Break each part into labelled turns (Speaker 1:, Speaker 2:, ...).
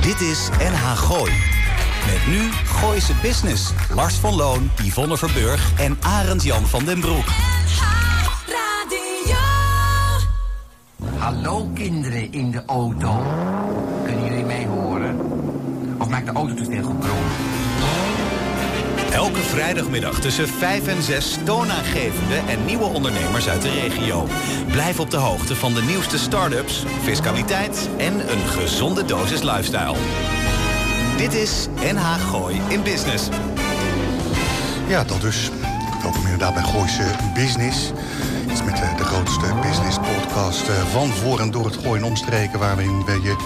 Speaker 1: Dit is NH Gooi. Met nu Gooise Business. Lars van Loon, Yvonne Verburg en Arend Jan van den Broek.
Speaker 2: Radio.
Speaker 3: Hallo kinderen in de auto. Kunnen jullie mij horen? Of maakt de auto te veel gebrom?
Speaker 1: Elke vrijdagmiddag tussen 5 en 6 toonaangevende en nieuwe ondernemers uit de regio. Blijf op de hoogte van de nieuwste start-ups, fiscaliteit en een gezonde dosis lifestyle. Dit is NH Gooi in Business.
Speaker 4: Ja, dat dus. Welkom inderdaad bij Gooise Business. Iets met eh, de grootste business podcast eh, van voor en door het gooien omstreken... waarin we je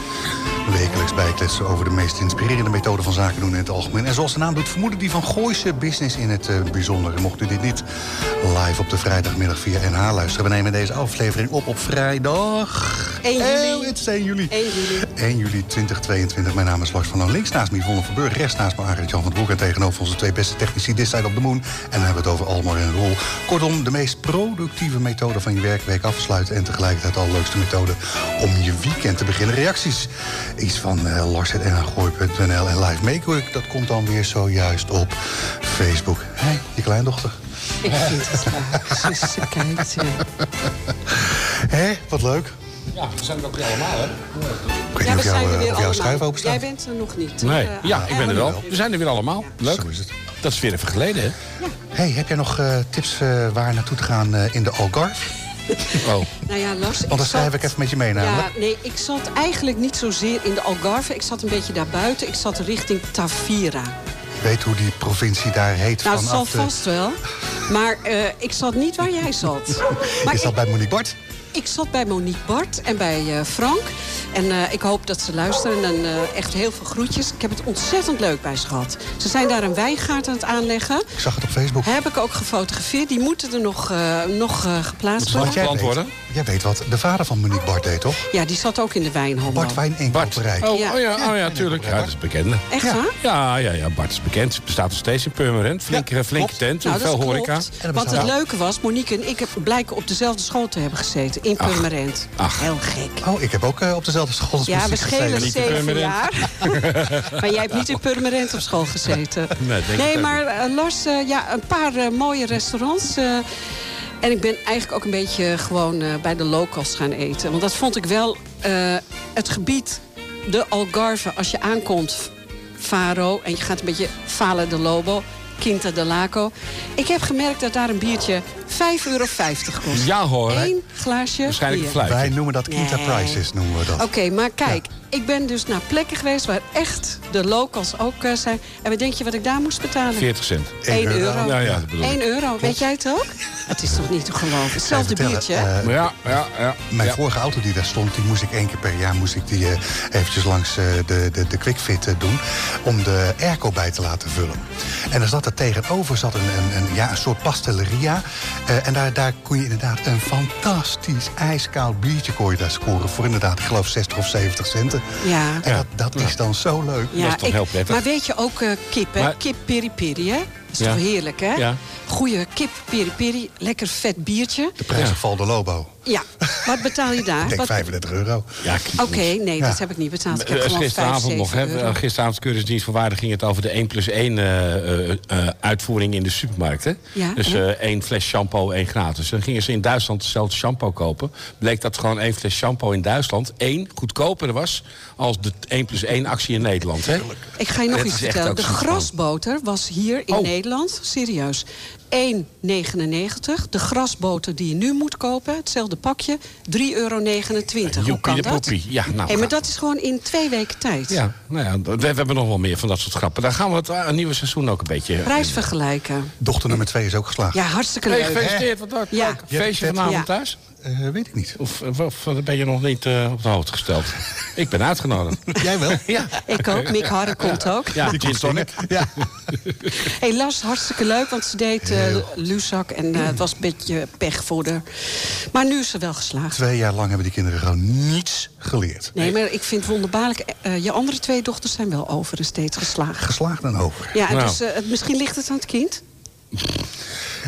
Speaker 4: wekelijks bijkletsen over de meest inspirerende methoden van zaken doen in het algemeen. En zoals de naam doet, vermoeden die van Gooise Business in het eh, bijzonder. En Mocht u dit niet live op de vrijdagmiddag via NH luisteren... we nemen deze aflevering op op vrijdag...
Speaker 5: 1 juli.
Speaker 4: Eh, Het is 1 juli.
Speaker 5: 1 juli.
Speaker 4: 1 juli 2022. Mijn naam is Lars van Loon. Links naast me Yvonne Verburg. Rechts naast me Arend Jan van den Broek. En tegenover onze twee beste technici This Side op de Moon. En dan hebben we het over Almar en Roel. Kortom, de meest productieve methode van je werkweek afsluiten. En tegelijkertijd de allerleukste methode om je weekend te beginnen. Reacties. Iets van eh lars.nhgooi.nl en live make Dat komt dan weer zojuist op Facebook. Hé, je kleindochter.
Speaker 5: Ik vind het leuk. Ze- Ze kijkt. ja.
Speaker 4: Hé, wat leuk.
Speaker 6: Ja, we zijn er ook weer allemaal, hè?
Speaker 4: Ik weet
Speaker 5: Ja,
Speaker 4: niet
Speaker 5: we
Speaker 4: of jouw,
Speaker 5: zijn er
Speaker 4: eh,
Speaker 5: weer
Speaker 4: of jouw schuif
Speaker 5: allemaal.
Speaker 4: open staat.
Speaker 5: Jij bent er nog niet.
Speaker 6: Nee,
Speaker 5: Eh,
Speaker 6: ja, ik ben er wel. We zijn er weer allemaal. Leuk.
Speaker 4: Zo is het.
Speaker 6: Dat is weer even geleden, hè?
Speaker 4: Hey, heb jij nog eh, tips eh, waar naartoe te gaan eh, in de Algarve?
Speaker 6: Oh.
Speaker 5: Nou ja, Lars,
Speaker 4: Want dan
Speaker 5: zat-
Speaker 4: schrijf ik even met je mee namelijk.
Speaker 5: Ja, nee, ik zat eigenlijk niet zozeer in de Algarve. Ik zat een beetje daarbuiten. Ik zat richting Tavira.
Speaker 4: Je weet hoe die provincie daar heet
Speaker 5: Nou, dat zal
Speaker 4: vanaf de...
Speaker 5: vast wel. Maar eh, ik zat niet waar jij zat. Maar
Speaker 4: Is dat
Speaker 5: ik-
Speaker 4: bij Monique Bart?
Speaker 5: Ik zat bij Monique Bart en bij eh, Frank. En eh, ik hoop dat ze luisteren. En eh, echt heel veel groetjes. Ik heb het ontzettend leuk bij ze gehad. Ze zijn daar een wijngaard aan het aanleggen.
Speaker 4: Ik zag het op Facebook.
Speaker 5: Heb ik ook gefotografeerd. Die moeten er nog, eh, nog eh, geplaatst
Speaker 6: Wat
Speaker 5: worden.
Speaker 4: Want jij
Speaker 6: Plant
Speaker 4: weet,
Speaker 6: worden?
Speaker 4: jij weet wat de vader van Monique Bart deed, toch?
Speaker 5: Ja, die zat ook in de wijnhandel.
Speaker 4: Bart Wijn en
Speaker 6: Bart.
Speaker 4: Koperij.
Speaker 6: Oh, oh
Speaker 5: Ja.
Speaker 6: ja, oh, ja tuurlijk. Ja, dat is bekende.
Speaker 5: Echt
Speaker 4: Ja.
Speaker 5: waar?
Speaker 6: Ja, ja, ja, Bart is bekend. Ze bestaat nog steeds in Purmerend. Flinke,
Speaker 4: Ja,
Speaker 6: flinke
Speaker 4: klopt.
Speaker 6: tent,
Speaker 5: Nou,
Speaker 6: veel
Speaker 5: dat
Speaker 6: horeca.
Speaker 5: klopt. Want het
Speaker 4: bestaat.
Speaker 5: leuke was, Monique en ik heb- blijken op dezelfde school te hebben gezeten. In Purmerend.
Speaker 6: ach.
Speaker 5: Heel gek.
Speaker 4: Oh, ik heb ook eh, op dezelfde school als
Speaker 5: Ja, we
Speaker 4: Monique
Speaker 5: schelen
Speaker 4: gezeten.
Speaker 6: niet in
Speaker 5: zeven
Speaker 6: Purmerend.
Speaker 5: jaar. maar jij hebt niet in Purmerend op school gezeten.
Speaker 6: Nee, denk ik ook
Speaker 5: maar eh, Lars, eh, ja, een paar eh, mooie restaurants. eh, en ik ben eigenlijk ook een beetje gewoon eh, bij de locals gaan eten. Want dat vond ik wel eh, het gebied, de Algarve, als je aankomt, Faro... en je gaat een beetje Fale de Lobo, Quinta de Laco. Ik heb gemerkt dat daar een biertje 5,50 euro kost.
Speaker 6: Ja, hoor.
Speaker 5: Eén glaasje
Speaker 6: Waarschijnlijk een
Speaker 5: bier.
Speaker 6: fluitje.
Speaker 4: Wij noemen dat Quinta
Speaker 5: Nee.
Speaker 4: Prices, noemen we dat.
Speaker 5: Oké, maar kijk, ik ben dus naar plekken geweest waar echt de locals ook eh, zijn. En wat denk je wat ik daar moest betalen?
Speaker 6: 40 cent.
Speaker 5: 1 euro.
Speaker 6: Ja, ja, dat bedoel ik.
Speaker 5: 1 euro, weet jij het ook? Het is toch niet te geloven?
Speaker 4: Kan je
Speaker 5: Hetzelfde
Speaker 4: vertellen,
Speaker 5: biertje.
Speaker 4: eh,
Speaker 6: Ja, ja, ja.
Speaker 4: Mijn
Speaker 6: ja.
Speaker 4: vorige auto die daar stond, die moest ik één keer per jaar moest ik die, eh, eventjes langs eh, de, de, de quickfit eh, doen. Om de airco bij te laten vullen. En daar zat er tegenover zat een, een, een, ja, een soort pastelleria. eh, en daar, daar kon je inderdaad een fantastisch ijskoud biertje kon je daar scoren. Voor inderdaad, ik geloof 60 of 70 centen.
Speaker 5: Ja.
Speaker 4: En dat, dat is dan zo leuk.
Speaker 5: ja,
Speaker 6: eh, is toch heel prettig.
Speaker 5: Maar weet je ook eh, kip, hè?
Speaker 6: Maar-
Speaker 5: Kip peri-peri, hè? Dat is
Speaker 6: Ja.
Speaker 5: toch heerlijk, hè?
Speaker 6: Ja.
Speaker 5: Goeie kip peri-peri, lekker vet biertje.
Speaker 4: De prijs van Valde Lobo.
Speaker 5: Ja, wat betaal je daar?
Speaker 4: Ik denk
Speaker 5: Wat-
Speaker 4: 35 euro.
Speaker 6: Ja,
Speaker 5: Oké, nee,
Speaker 4: Ja.
Speaker 5: dat heb ik niet betaald. Ik heb
Speaker 6: Eh,
Speaker 5: gewoon
Speaker 6: Gisteravond
Speaker 5: 5,
Speaker 6: nog,
Speaker 5: 7
Speaker 6: hè?
Speaker 5: euro.
Speaker 6: Eh, Gisteravond keuringsdienst van waarde ging het over de 1 plus 1 eh, eh, eh, uitvoering in de supermarkten.
Speaker 5: Ja,
Speaker 6: dus
Speaker 5: ja.
Speaker 6: eh, één fles shampoo, één gratis. Dus Dan gingen ze in Duitsland hetzelfde shampoo kopen. Bleek dat gewoon één fles shampoo in Duitsland één goedkoper was als de 1 plus 1 actie in Nederland. Hè?
Speaker 5: Ik ga je nog
Speaker 6: Dat
Speaker 5: iets
Speaker 6: is echt
Speaker 5: vertellen.
Speaker 6: ook
Speaker 5: De
Speaker 6: zo'n
Speaker 5: grasboter was hier in
Speaker 6: Oh.
Speaker 5: Nederland, serieus, 1,99. De grasboter die je nu moet kopen, hetzelfde pakje, 3,29 euro. Hoe
Speaker 6: Joepie
Speaker 5: kan
Speaker 6: de
Speaker 5: dat?
Speaker 6: poepie. Ja, nou,
Speaker 5: Hé, maar
Speaker 6: ga-
Speaker 5: dat is gewoon in twee weken tijd.
Speaker 6: Ja, nou ja, d- we, we hebben nog wel meer van dat soort grappen. Daar gaan we het eh, nieuwe seizoen ook een beetje.
Speaker 5: Prijs vergelijken.
Speaker 4: Dochter nummer 2 is ook geslaagd.
Speaker 5: Ja, hartstikke
Speaker 6: Hey,
Speaker 5: leuk.
Speaker 6: gefeliciteerd, wat leuk.
Speaker 5: Ja.
Speaker 6: Leuk. Feestje vanavond
Speaker 5: Ja.
Speaker 6: thuis?
Speaker 4: Eh, weet ik niet.
Speaker 6: Of, of, of ben je nog niet eh, op de hoogte gesteld? Ik ben uitgenodigd.
Speaker 4: Jij wel?
Speaker 6: Ja.
Speaker 5: Ik ook, Mick Harren komt ook.
Speaker 6: Ja, gin tonic.
Speaker 4: Ja.
Speaker 5: Hé, Lars, hartstikke leuk, want ze deed eh Luzak en eh, het was een beetje pech voor haar. Maar nu is ze wel geslaagd.
Speaker 4: Twee jaar lang hebben die kinderen gewoon niets geleerd.
Speaker 5: Nee, maar ik vind het wonderbaarlijk. eh, je andere twee dochters zijn wel overigens steeds geslaagd.
Speaker 4: Geslaagd en over.
Speaker 5: Ja, eh,
Speaker 6: Nou.
Speaker 5: dus eh, het- misschien ligt het aan het kind.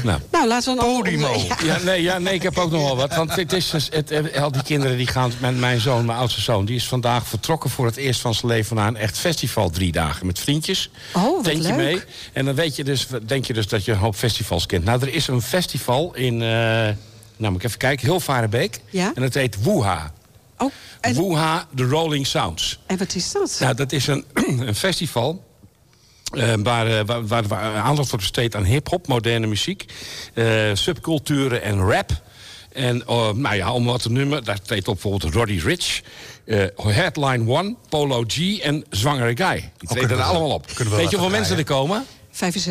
Speaker 6: Nou.
Speaker 5: Nou, laten we een ander
Speaker 4: Podimo.
Speaker 5: onder- Ja.
Speaker 6: Ja, nee, ja, nee, ik heb ook nog wel wat. Want het is dus, het, eh, al die kinderen die gaan. Mijn, mijn zoon, mijn oudste zoon, die is vandaag vertrokken voor het eerst van zijn leven naar een echt festival. Drie dagen met vriendjes.
Speaker 5: Oh, wat
Speaker 6: Tentje
Speaker 5: leuk.
Speaker 6: mee. En dan weet je dus, denk je dus dat je een hoop festivals kent. Nou, er is een festival in. eh, nou, moet ik even kijken, Hilvarenbeek.
Speaker 5: Ja?
Speaker 6: En het heet Woeha.
Speaker 5: Oh, en,
Speaker 6: Woeha, The Rolling Sounds.
Speaker 5: en wat is dat?
Speaker 6: Nou, dat is een, een festival. eh, waar, eh, waar, waar, waar aandacht wordt besteed aan hip-hop, moderne muziek, eh, subculturen en rap. En eh, nou ja, om wat te nummer, daar treedt op bijvoorbeeld Roddy Rich, eh, Headline One, Polo G en Zwangere Guy. Die treden
Speaker 4: Oh, kunnen we
Speaker 6: er
Speaker 4: wel-
Speaker 6: allemaal op.
Speaker 4: kunnen we
Speaker 6: Weet
Speaker 4: wel
Speaker 6: je
Speaker 4: laten
Speaker 6: hoeveel mensen er komen?
Speaker 5: 65.000.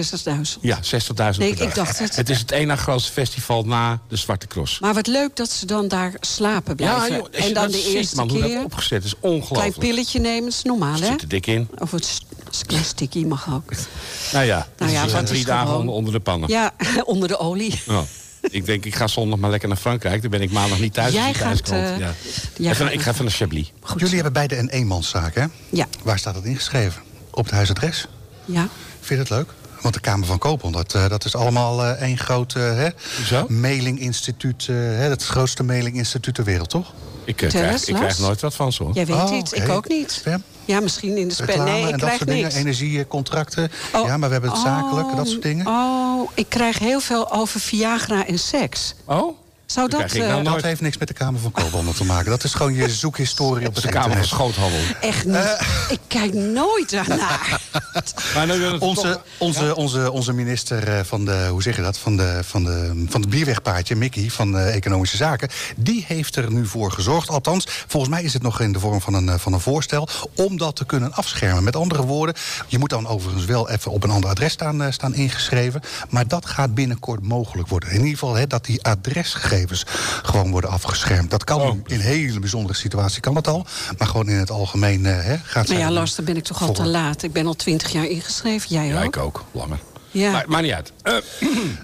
Speaker 6: Ja, 60.000
Speaker 5: Nee,
Speaker 6: per
Speaker 5: ik
Speaker 6: dag.
Speaker 5: dacht het.
Speaker 6: Het is het ene grootste festival na de Zwarte Cross.
Speaker 5: Maar wat leuk dat ze dan daar slapen
Speaker 6: ja,
Speaker 5: blijven.
Speaker 6: joh, als je
Speaker 5: en dan
Speaker 6: dat
Speaker 5: de
Speaker 6: ziet,
Speaker 5: eerste
Speaker 6: man, hoe dat
Speaker 5: keer
Speaker 6: opgezet is,
Speaker 5: klein
Speaker 6: ongelooflijk.
Speaker 5: pilletje nemen. is normaal, hè?
Speaker 6: zit er dik in.
Speaker 5: Of het s- s- klein stikkie mag ook.
Speaker 6: Nou ja,
Speaker 5: Nou ja,
Speaker 6: we zijn
Speaker 5: dat is
Speaker 6: drie dagen
Speaker 5: gewoon-
Speaker 6: onder, onder de pannen.
Speaker 5: Ja, onder de olie.
Speaker 6: Oh. Ik denk, ik ga zondag maar lekker naar Frankrijk. Dan ben ik maandag niet thuis.
Speaker 5: Jij
Speaker 6: als die
Speaker 5: gaat,
Speaker 6: thuiskomt.
Speaker 5: eh,
Speaker 6: ja.
Speaker 5: jij
Speaker 6: Even-
Speaker 5: gaat
Speaker 6: ik ga
Speaker 5: naar-
Speaker 6: van de Chablis.
Speaker 4: Jullie hebben beide een eenmanszaak, hè?
Speaker 5: Ja.
Speaker 4: Waar staat dat ingeschreven? Op het huisadres?
Speaker 5: Ja.
Speaker 4: Vind je dat leuk? Want de Kamer van Koophandel, dat, eh, dat is allemaal eh, één groot eh, hè,
Speaker 6: Hoezo?
Speaker 4: mailinginstituut. eh, hè, dat is het grootste mailinginstituut ter wereld, toch?
Speaker 6: Ik, eh,
Speaker 5: Terras,
Speaker 6: krijg, ik
Speaker 5: Lars?
Speaker 6: krijg nooit wat van zo.
Speaker 5: Jij weet
Speaker 4: Oh,
Speaker 5: iets, ik
Speaker 4: oké.
Speaker 5: ook niet.
Speaker 4: Spam?
Speaker 5: Ja, misschien in de spam.
Speaker 4: Reclame
Speaker 5: Nee, ik
Speaker 4: en dat
Speaker 5: krijg
Speaker 4: soort dingen,
Speaker 5: niks.
Speaker 4: energiecontracten.
Speaker 5: Oh,
Speaker 4: ja, maar we hebben het
Speaker 5: oh,
Speaker 4: zakelijke, dat soort dingen.
Speaker 5: Oh, ik krijg heel veel over Viagra en seks.
Speaker 6: Oh?
Speaker 5: Zou
Speaker 6: Dan
Speaker 5: dat,
Speaker 6: krijg ik
Speaker 5: eh,
Speaker 6: nou
Speaker 4: dat
Speaker 6: nooit.
Speaker 4: heeft niks met de Kamer van Koophandel te maken. Dat is gewoon je zoekhistorie op
Speaker 6: Dat
Speaker 4: het
Speaker 6: is de kamer van
Speaker 4: internet.
Speaker 6: schoothandel.
Speaker 5: Echt niet.
Speaker 4: Eh.
Speaker 5: Ik kijk nooit daarnaar.
Speaker 6: Maar nu wil het
Speaker 4: Onze,
Speaker 6: toch-
Speaker 4: onze, onze, onze minister eh, van de, hoe zeg je dat, van de, van de, van het bierwegpaardje, Mickey, van eh, Economische Zaken, die heeft er nu voor gezorgd. Althans, volgens mij is het nog in de vorm van een, eh, van een voorstel om dat te kunnen afschermen. Met andere woorden, je moet dan overigens wel even op een ander adres staan, eh, staan ingeschreven. Maar dat gaat binnenkort mogelijk worden. In ieder geval hè, dat die adresgegevens gewoon worden afgeschermd. Dat
Speaker 6: Oh.
Speaker 4: kan nu in een hele bijzondere situatie, kan dat al. Maar gewoon in het algemeen eh, hè, gaat
Speaker 5: Maar
Speaker 4: zij
Speaker 5: ja,
Speaker 4: er nu
Speaker 5: Lars, dan ben ik toch al
Speaker 4: voor.
Speaker 5: te laat. Ik ben al twintig jaar ingeschreven. Jij
Speaker 6: Ja,
Speaker 5: ook?
Speaker 6: ik ook. Langer.
Speaker 5: Ja.
Speaker 6: Maar, maar niet uit. Eh,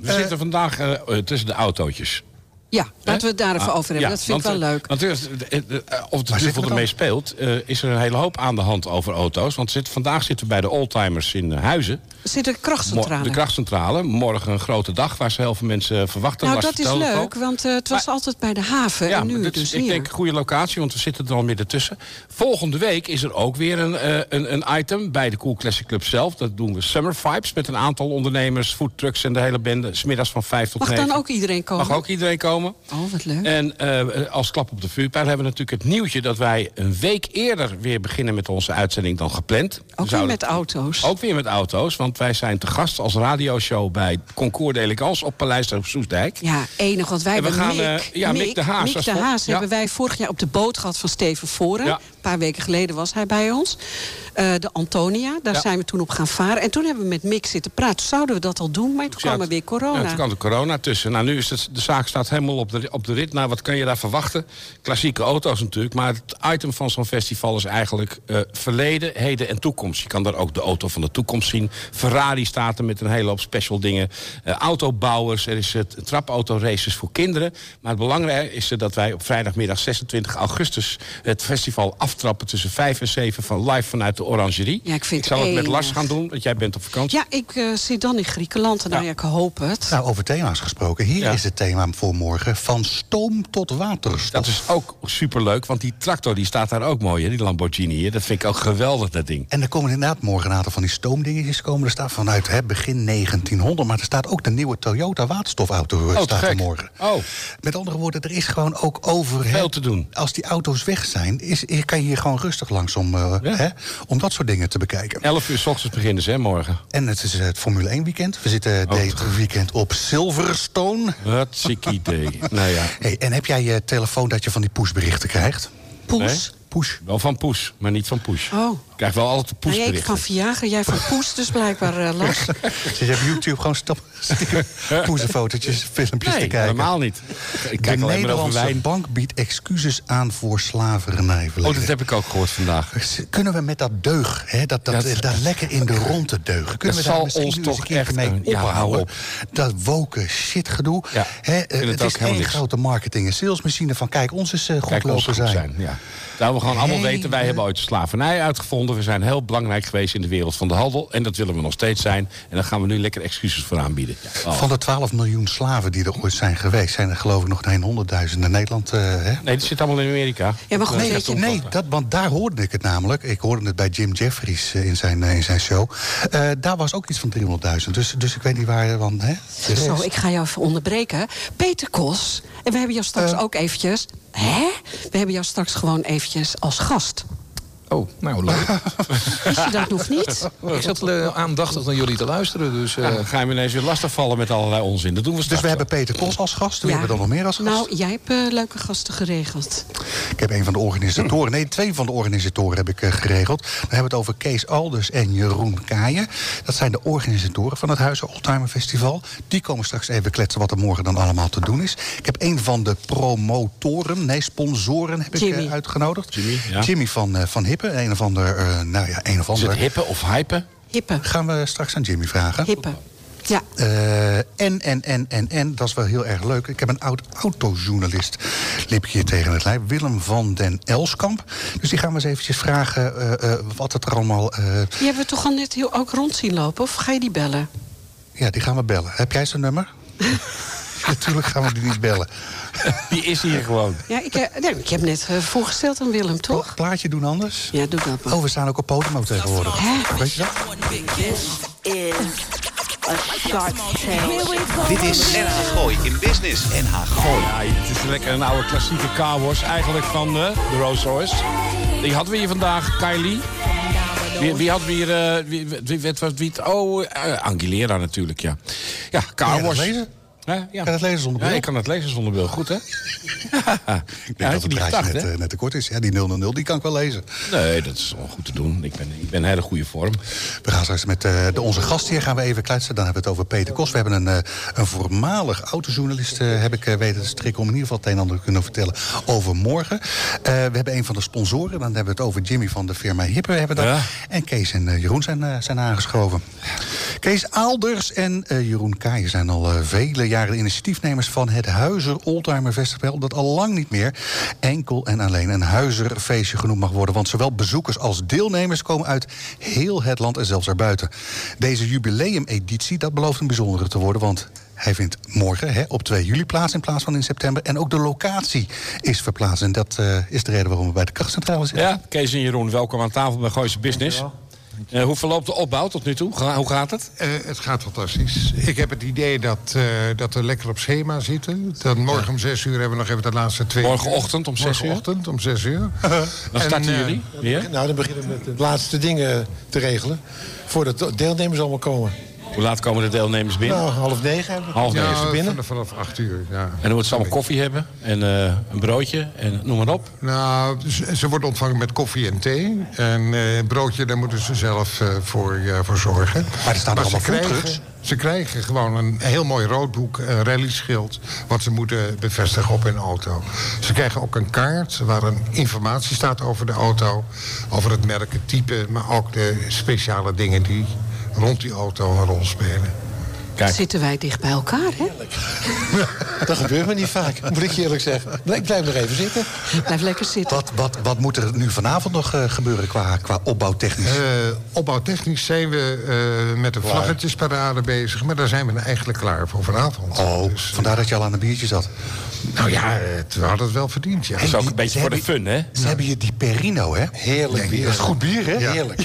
Speaker 6: we zitten vandaag eh, eh, tussen de autootjes.
Speaker 5: Ja, laten we het daar
Speaker 6: Hè?
Speaker 5: even over hebben.
Speaker 6: Ah. Ja,
Speaker 5: dat vind ik
Speaker 6: want,
Speaker 5: wel
Speaker 6: eh,
Speaker 5: leuk.
Speaker 6: Want er is, eh, eh, eh, of de
Speaker 4: zitten
Speaker 6: duivel
Speaker 4: we
Speaker 6: ermee
Speaker 4: dan?
Speaker 6: speelt, eh, is er een hele hoop aan de hand over auto's. Want zit, vandaag zitten we bij de oldtimers in eh, Huizen.
Speaker 5: Zit er
Speaker 6: Mo-
Speaker 5: krachtcentrale?
Speaker 6: De krachtcentrale. Morgen een grote dag waar ze heel veel mensen eh, verwachten.
Speaker 5: nou,
Speaker 6: Lars
Speaker 5: dat is
Speaker 6: vertelde het
Speaker 5: leuk,
Speaker 6: al.
Speaker 5: want eh, het was
Speaker 6: Maar-
Speaker 5: altijd bij de haven.
Speaker 6: Ja,
Speaker 5: en nu
Speaker 6: maar dit
Speaker 5: dus
Speaker 6: is, ik
Speaker 5: hier.
Speaker 6: denk een goede locatie, want we zitten er al midden tussen. Volgende week is er ook weer een, eh, een, een item bij de Cool Classic Club zelf. Dat doen we Summer Vibes met een aantal ondernemers, foodtrucks en de hele bende. Smiddags van 5 tot
Speaker 5: Mag
Speaker 6: 9.
Speaker 5: dan ook iedereen komen?
Speaker 6: Mag ook iedereen komen.
Speaker 5: Oh, wat leuk.
Speaker 6: En eh, als klap op de vuurpijl hebben we natuurlijk het nieuwtje... dat wij een week eerder weer beginnen met onze uitzending dan gepland. We
Speaker 5: ook weer
Speaker 6: zouden-
Speaker 5: met auto's.
Speaker 6: ook weer met auto's, want wij zijn te gast als radioshow bij Concours d'Elegance op Paleis op Soesdijk.
Speaker 5: Ja, enig, want wij
Speaker 6: En we
Speaker 5: hebben
Speaker 6: gaan,
Speaker 5: Mick,
Speaker 6: eh, ja, Mick de Haas
Speaker 5: Mick
Speaker 6: als
Speaker 5: de
Speaker 6: vol-
Speaker 5: Haas
Speaker 6: ja.
Speaker 5: hebben wij vorig jaar op de boot gehad van Steven Voren.
Speaker 6: Ja.
Speaker 5: Een paar weken geleden was hij bij ons. Eh, de Antonia, daar
Speaker 6: Ja.
Speaker 5: zijn we toen op gaan varen. En toen hebben we met Mick zitten praten. Zouden we dat al doen, maar toen kwam er weer corona.
Speaker 6: Ja, toen kwam er corona tussen. Nou, nu is het, de zaak staat helemaal op de, op de rit. Nou, wat kan je daar verwachten? Klassieke auto's natuurlijk. Maar het item van zo'n festival is eigenlijk eh, verleden, heden en toekomst. Je kan daar ook de auto van de toekomst zien. Ferrari staat er met een hele hoop special dingen. Eh, autobouwers, er is het trapautoraces voor kinderen. Maar het belangrijke is eh, dat wij op vrijdagmiddag 26 augustus... het festival aftrappen tussen 5 en 7 van live vanuit de Orangerie.
Speaker 5: Ja, ik vind
Speaker 6: zal het met
Speaker 5: enig.
Speaker 6: Lars gaan doen, want jij bent op vakantie.
Speaker 5: Ja, ik eh, zit dan in Griekenland. En nou
Speaker 6: Ja.
Speaker 5: ja, ik hoop het.
Speaker 4: Nou, over thema's gesproken. Hier
Speaker 6: Ja.
Speaker 4: is het thema voor morgen. Van stoom tot waterstof.
Speaker 6: Dat is ook superleuk, want die tractor die staat daar ook mooi, hè? die Lamborghini hier. Dat vind ik ook geweldig, dat ding.
Speaker 4: En er komen inderdaad morgen een aantal van die stoomdingetjes komen. Er staat vanuit hè, begin 1900. Maar er staat ook de nieuwe Toyota waterstofauto eh,
Speaker 6: te
Speaker 4: staat er
Speaker 6: gek.
Speaker 4: morgen.
Speaker 6: Oh.
Speaker 4: Met andere woorden, er is gewoon ook over... hè,
Speaker 6: Veel te doen.
Speaker 4: Als die auto's weg zijn, is, kan je hier gewoon rustig langs om, eh,
Speaker 6: Ja.
Speaker 4: hè, om dat soort dingen te bekijken.
Speaker 6: 11 uur s ochtends beginnen ze, hè, morgen.
Speaker 4: En het is het Formule 1 weekend. We zitten dit weekend op Silverstone.
Speaker 6: Oh. Wat ziek idee. nou ja,
Speaker 4: Hey, en heb jij je telefoon dat je van die pushberichten krijgt?
Speaker 5: Poes.
Speaker 4: Push.
Speaker 6: wel van poes, maar niet van poes.
Speaker 5: Oh.
Speaker 6: Ik krijg wel altijd de
Speaker 5: Nou, ja, ik
Speaker 6: poesberichten.
Speaker 5: van Viagra, jij van Poes, dus blijkbaar eh, Lars.
Speaker 4: Ze je op YouTube gewoon stap stiekem poezenfotootjes, filmpjes te
Speaker 6: nee,
Speaker 4: kijken.
Speaker 6: helemaal niet. Ik
Speaker 4: De
Speaker 6: kijk alleen maar over
Speaker 4: Nederlandse
Speaker 6: wijn.
Speaker 4: bank biedt excuses aan voor slavernij.
Speaker 6: Oh, dat heb ik ook gehoord vandaag.
Speaker 4: Kunnen we met dat deug, hè, dat, dat,
Speaker 6: Dat-
Speaker 4: dat, lekker in de rondte deugen... kunnen
Speaker 6: Dat
Speaker 4: we daar
Speaker 6: zal
Speaker 4: misschien
Speaker 6: ons
Speaker 4: nu eens een
Speaker 6: toch
Speaker 4: keertje
Speaker 6: echt
Speaker 4: mee
Speaker 6: een- ja, hou
Speaker 4: ophouden?
Speaker 6: op.
Speaker 4: Dat woken shitgedoe.
Speaker 6: Ja,
Speaker 4: hè, eh,
Speaker 6: ik vind het
Speaker 4: het
Speaker 6: ook
Speaker 4: is
Speaker 6: helemaal
Speaker 4: één
Speaker 6: niks.
Speaker 4: grote marketing- en salesmachine van... kijk, ons is eh, goed
Speaker 6: Kijk, ons
Speaker 4: lopen
Speaker 6: goed zijn.
Speaker 4: zijn.
Speaker 6: Ja. Dat we gewoon allemaal
Speaker 4: Hele-
Speaker 6: weten, wij hebben ooit de slavernij uitgevonden. gevonden. We zijn heel belangrijk geweest in de wereld van de handel. En dat willen we nog steeds zijn. En daar gaan we nu lekker excuses voor aanbieden. Ja. Oh.
Speaker 4: Van de 12 miljoen slaven die er ooit zijn geweest, zijn er geloof ik nog geen 100.000 naar Nederland. eh, hè?
Speaker 6: Oh. Nee, dat zit allemaal in Amerika.
Speaker 5: Ja, maar goed,
Speaker 4: Nee,
Speaker 5: weet je-
Speaker 4: nee dat, want daar hoorde ik het namelijk. Ik hoorde het bij Jim Jeffries eh, in zijn, eh, in zijn show. Eh, daar was ook iets van 300.000. Dus, dus ik weet niet waar. eh, Want, hè, Dus- de rest.
Speaker 5: Zo, ik ga jou even onderbreken. Peter Kos, en we hebben jou straks
Speaker 4: Eh.
Speaker 5: ook eventjes... Hè? We hebben jou straks gewoon eventjes als gast.
Speaker 2: Oh, nou leuk.
Speaker 5: Wist je dat nog niet?
Speaker 2: ik zat eh, aandachtig naar jullie te luisteren, dus... eh,
Speaker 6: Dan ga je me ineens weer lastigvallen met allerlei onzin. Dat doen we
Speaker 4: Dus
Speaker 6: straks
Speaker 4: we
Speaker 6: wel.
Speaker 4: hebben Peter Kos als gast. Wie
Speaker 5: Ja.
Speaker 4: hebben we dan nog meer als gast?
Speaker 5: Nou, jij hebt eh, leuke gasten geregeld.
Speaker 4: Ik heb een van de organisatoren, nee, twee van de organisatoren heb ik eh, geregeld. We hebben het over Kees Alders en Jeroen Kaaien. Dat zijn de organisatoren van het Huizen Oldtimer Festival. Die komen straks even kletsen wat er morgen dan allemaal te doen is. Ik heb een van de promotoren, nee, sponsoren heb ik eh,
Speaker 5: Jimmy.
Speaker 4: uitgenodigd.
Speaker 6: Jimmy, ja.
Speaker 4: Jimmy van, eh, van Hippe, een of ander, eh, nou ja, een of
Speaker 6: Is het
Speaker 4: ander.
Speaker 6: hippen of hypen?
Speaker 5: Hippe,
Speaker 4: Gaan we straks aan Jimmy vragen.
Speaker 5: hippe. Ja,
Speaker 4: Eh, en, en, en, en, en, dat is wel heel erg leuk. Ik heb een oud autojournalist, liep ik hier tegen het lijf. Willem van den Elskamp. Dus die gaan we eens eventjes vragen eh, eh, wat het er allemaal... eh,
Speaker 5: die hebben we toch al net heel ook rond zien lopen? Of ga je die bellen?
Speaker 4: ja, die gaan we bellen. Heb jij zijn nummer? Natuurlijk gaan we die niet bellen.
Speaker 6: Die is hier gewoon.
Speaker 5: Ja, ik, eh, nee, ik heb net eh, voorgesteld aan Willem, toch?
Speaker 4: Plaatje doen anders?
Speaker 5: Ja, doe dat maar.
Speaker 4: Oh, we staan ook op podium tegenwoordig.
Speaker 5: Hè?
Speaker 4: Weet je dat?
Speaker 7: This is a Shark Tale.
Speaker 1: Dit is NH Gooi in Business. NH Gooi.
Speaker 6: Ja, het is lekker een oude klassieke car wash eigenlijk van eh, de Rolls Royce. Die hadden we hier vandaag, Kylie. Wie, wie hadden we hier? eh, wie, wie, wie, wie, wie- oh, eh, Anguilera natuurlijk, ja. Ja, car
Speaker 4: Kan je dat
Speaker 6: wash.
Speaker 4: lezen?
Speaker 6: Hè, ja.
Speaker 4: Kan je dat lezen zonder bril?
Speaker 6: Ja, ik kan het lezen zonder bril. Goed, hè?
Speaker 4: Ik
Speaker 6: Ja,
Speaker 4: denk
Speaker 6: had
Speaker 4: dat
Speaker 6: je
Speaker 4: het
Speaker 6: niet
Speaker 4: draadje
Speaker 6: gedacht,
Speaker 4: net,
Speaker 6: hè?
Speaker 4: eh, net te kort is. Ja, die 000, die kan ik wel lezen.
Speaker 6: Nee, dat is wel goed te doen. Ik ben, ik ben in hele goede vorm.
Speaker 4: We gaan straks met eh, de, onze gast hier gaan we even kletsen. Dan hebben we het over Peter Kos. We hebben een, eh, een voormalig autojournalist, eh, heb ik eh, weten te strikken... om in ieder geval het een en ander te kunnen vertellen over morgen. Eh, we hebben een van de sponsoren. Dan hebben we het over Jimmy van de firma Hippe. Hebben we dat.
Speaker 6: Ja.
Speaker 4: En Kees en eh, Jeroen zijn, eh, zijn aangeschoven. Kees Aalders en eh, Jeroen Kaaien zijn al eh, vele jaren de initiatiefnemers... van het Huizer Oldtimer Festival... dat al lang niet meer enkel en alleen een huizerfeestje genoemd mag worden. Want zowel bezoekers als deelnemers komen uit heel het land en zelfs erbuiten. Deze jubileumeditie, dat belooft een bijzondere te worden... want hij vindt morgen hè, op 2 juli plaats in plaats van in september. En ook de locatie is verplaatst. En dat eh, is de reden waarom we bij de krachtcentrale zitten.
Speaker 6: Ja, Kees en Jeroen, welkom aan tafel bij Gooise Business. Eh, hoe verloopt de opbouw tot nu toe? Ga- Hoe gaat het?
Speaker 8: Eh, het gaat fantastisch. Ik heb het idee dat, eh, dat we lekker op schema zitten. Dan morgen om zes uur hebben we nog even de laatste twee...
Speaker 6: Morgenochtend om zes uur?
Speaker 8: Morgenochtend om zes uur.
Speaker 6: Dan starten
Speaker 8: En, eh,
Speaker 6: jullie weer.
Speaker 9: Nou, dan beginnen we met de laatste dingen te regelen. Voordat de deelnemers allemaal komen.
Speaker 6: Hoe laat komen de deelnemers binnen?
Speaker 9: Nou, half negen hebben we.
Speaker 6: Half
Speaker 8: ja,
Speaker 6: negen.
Speaker 9: is er binnen.
Speaker 8: vanaf, vanaf acht uur, ja.
Speaker 6: En dan moet ze allemaal koffie hebben en eh, een broodje en noem maar op.
Speaker 8: Nou, ze, ze wordt ontvangen met koffie en thee. En eh, broodje, daar moeten ze zelf eh, voor, eh, voor zorgen.
Speaker 4: Maar er staan nog
Speaker 8: ze
Speaker 4: allemaal
Speaker 8: krijgen,
Speaker 4: foodtrucks.
Speaker 8: ze krijgen gewoon een heel mooi roodboek, een rallyschild... wat ze moeten bevestigen op hun auto. Ze krijgen ook een kaart waar een informatie staat over de auto... over het merk, het type, maar ook de speciale dingen... die rond die auto een rol spelen.
Speaker 6: Kijk.
Speaker 5: Zitten wij dicht bij elkaar, hè?
Speaker 9: Dat gebeurt me niet vaak, moet ik je eerlijk zeggen. Nee, ik blijf nog even zitten.
Speaker 5: Blijf lekker zitten.
Speaker 4: Wat, wat, wat moet er nu vanavond nog eh, gebeuren qua, qua opbouwtechnisch?
Speaker 8: Eh, opbouwtechnisch zijn we eh, met de vlaggetjesparade bezig... maar daar zijn we eigenlijk klaar voor vanavond.
Speaker 4: oh,
Speaker 8: Dus,
Speaker 4: vandaar dat je al aan een biertje zat.
Speaker 8: Nou ja, het, we hadden het wel verdiend, ja.
Speaker 6: Dat is ook een
Speaker 4: die-
Speaker 6: beetje
Speaker 4: ze
Speaker 6: voor de
Speaker 4: hebben-
Speaker 6: fun, hè?
Speaker 4: Ze hebben hier die Perino, hè?
Speaker 9: Heerlijk bier.
Speaker 4: dat is goed bier, hè?
Speaker 9: Ja. Heerlijk.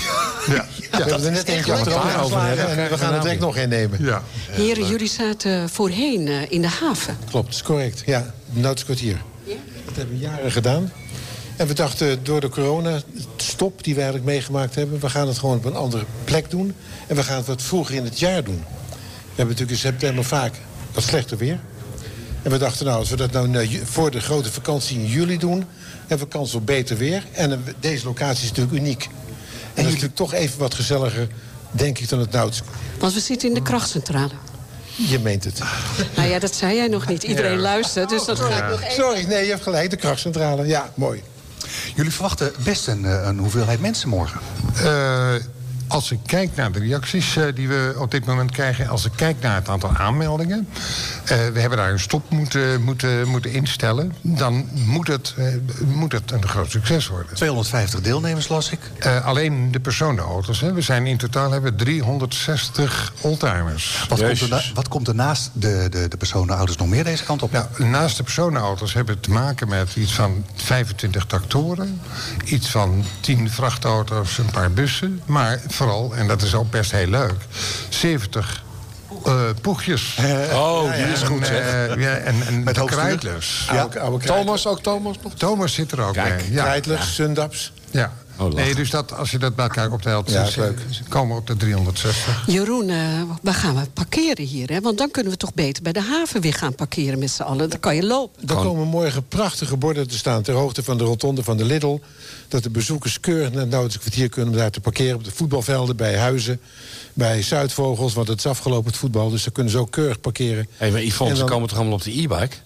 Speaker 8: Ja,
Speaker 9: we hebben er net eentje achter elkaar
Speaker 6: daarover hebben
Speaker 9: geslagen
Speaker 6: we
Speaker 9: en we gaan er direct nog een nemen.
Speaker 8: ja.
Speaker 5: Heren, jullie zaten voorheen eh, in de haven.
Speaker 9: Klopt, is correct. Ja, nautische kwartier. Dat hebben we jaren gedaan. En we dachten, door de corona-stop die we eigenlijk meegemaakt hebben... we gaan het gewoon op een andere plek doen. En we gaan het wat vroeger in het jaar doen. We hebben natuurlijk in september vaak wat slechter weer. En we dachten, nou, als we dat nou na ju- voor de grote vakantie in juli doen... hebben we kans op beter weer. En eh, deze locatie is natuurlijk uniek. En, dat is natuurlijk toch even wat gezelliger, denk ik, dan het nautische kwartier.
Speaker 5: Want we zitten in de krachtcentrale.
Speaker 9: Je meent het.
Speaker 5: Nou ja, dat zei jij nog niet. Iedereen luistert, dus dat ga ik nog even...
Speaker 9: Sorry, nee, je hebt gelijk, de krachtcentrale. Ja, mooi.
Speaker 4: Jullie verwachten best een, eh, een hoeveelheid mensen morgen.
Speaker 8: Eh, als ik kijk naar de reacties eh, die we op dit moment krijgen... als ik kijk naar het aantal aanmeldingen... eh, we hebben daar een stop moeten, moeten, moeten instellen... dan moet het, eh, moet het een groot succes worden.
Speaker 4: 250 deelnemers las ik.
Speaker 8: Eh, alleen de personenauto's. Hè. We zijn in totaal hebben we 360 oldtimers.
Speaker 4: Wat komt, er nou- na- wat komt er naast de, de, de personenouders nog meer deze kant op?
Speaker 8: Nou, naast de personenauto's hebben we te maken met iets van 25 tractoren, iets van 10 vrachtauto's, een paar bussen, maar vooral, en dat is ook best heel leuk, 70 eh, poegjes.
Speaker 6: Oh, die is goed,
Speaker 8: En,
Speaker 6: zeg.
Speaker 8: eh, ja, en, en
Speaker 4: Met
Speaker 8: de
Speaker 4: hoofdstuur.
Speaker 8: kruidlers.
Speaker 9: Oude, oude
Speaker 6: Thomas, ook Thomas nog?
Speaker 8: Thomas zit er ook
Speaker 6: Kijk, Oh,
Speaker 8: bij. Ja,
Speaker 9: Krijtlers, Sundaps.
Speaker 8: ja.
Speaker 6: lachen.
Speaker 8: nee, dus dat, als je dat bij elkaar optelt,
Speaker 9: Ja,
Speaker 8: ze-
Speaker 9: leuk.
Speaker 8: ze komen we op de 360.
Speaker 5: Jeroen, eh, waar gaan we parkeren hier? Hè? Want dan kunnen we toch beter bij de haven weer gaan parkeren met z'n allen. Dan kan je lopen.
Speaker 9: Er komen morgen prachtige borden te staan ter hoogte van de rotonde van de Lidl. Dat de bezoekers keurig naar het Nauwelijks kwartier kunnen om daar te parkeren. Op de voetbalvelden, bij huizen, bij Zuidvogels. Want het is afgelopen het voetbal, dus dan kunnen ze ook keurig parkeren.
Speaker 6: Hé, maar Yvonne,
Speaker 9: En
Speaker 6: ze
Speaker 9: dan-
Speaker 6: komen toch allemaal op de e-bike?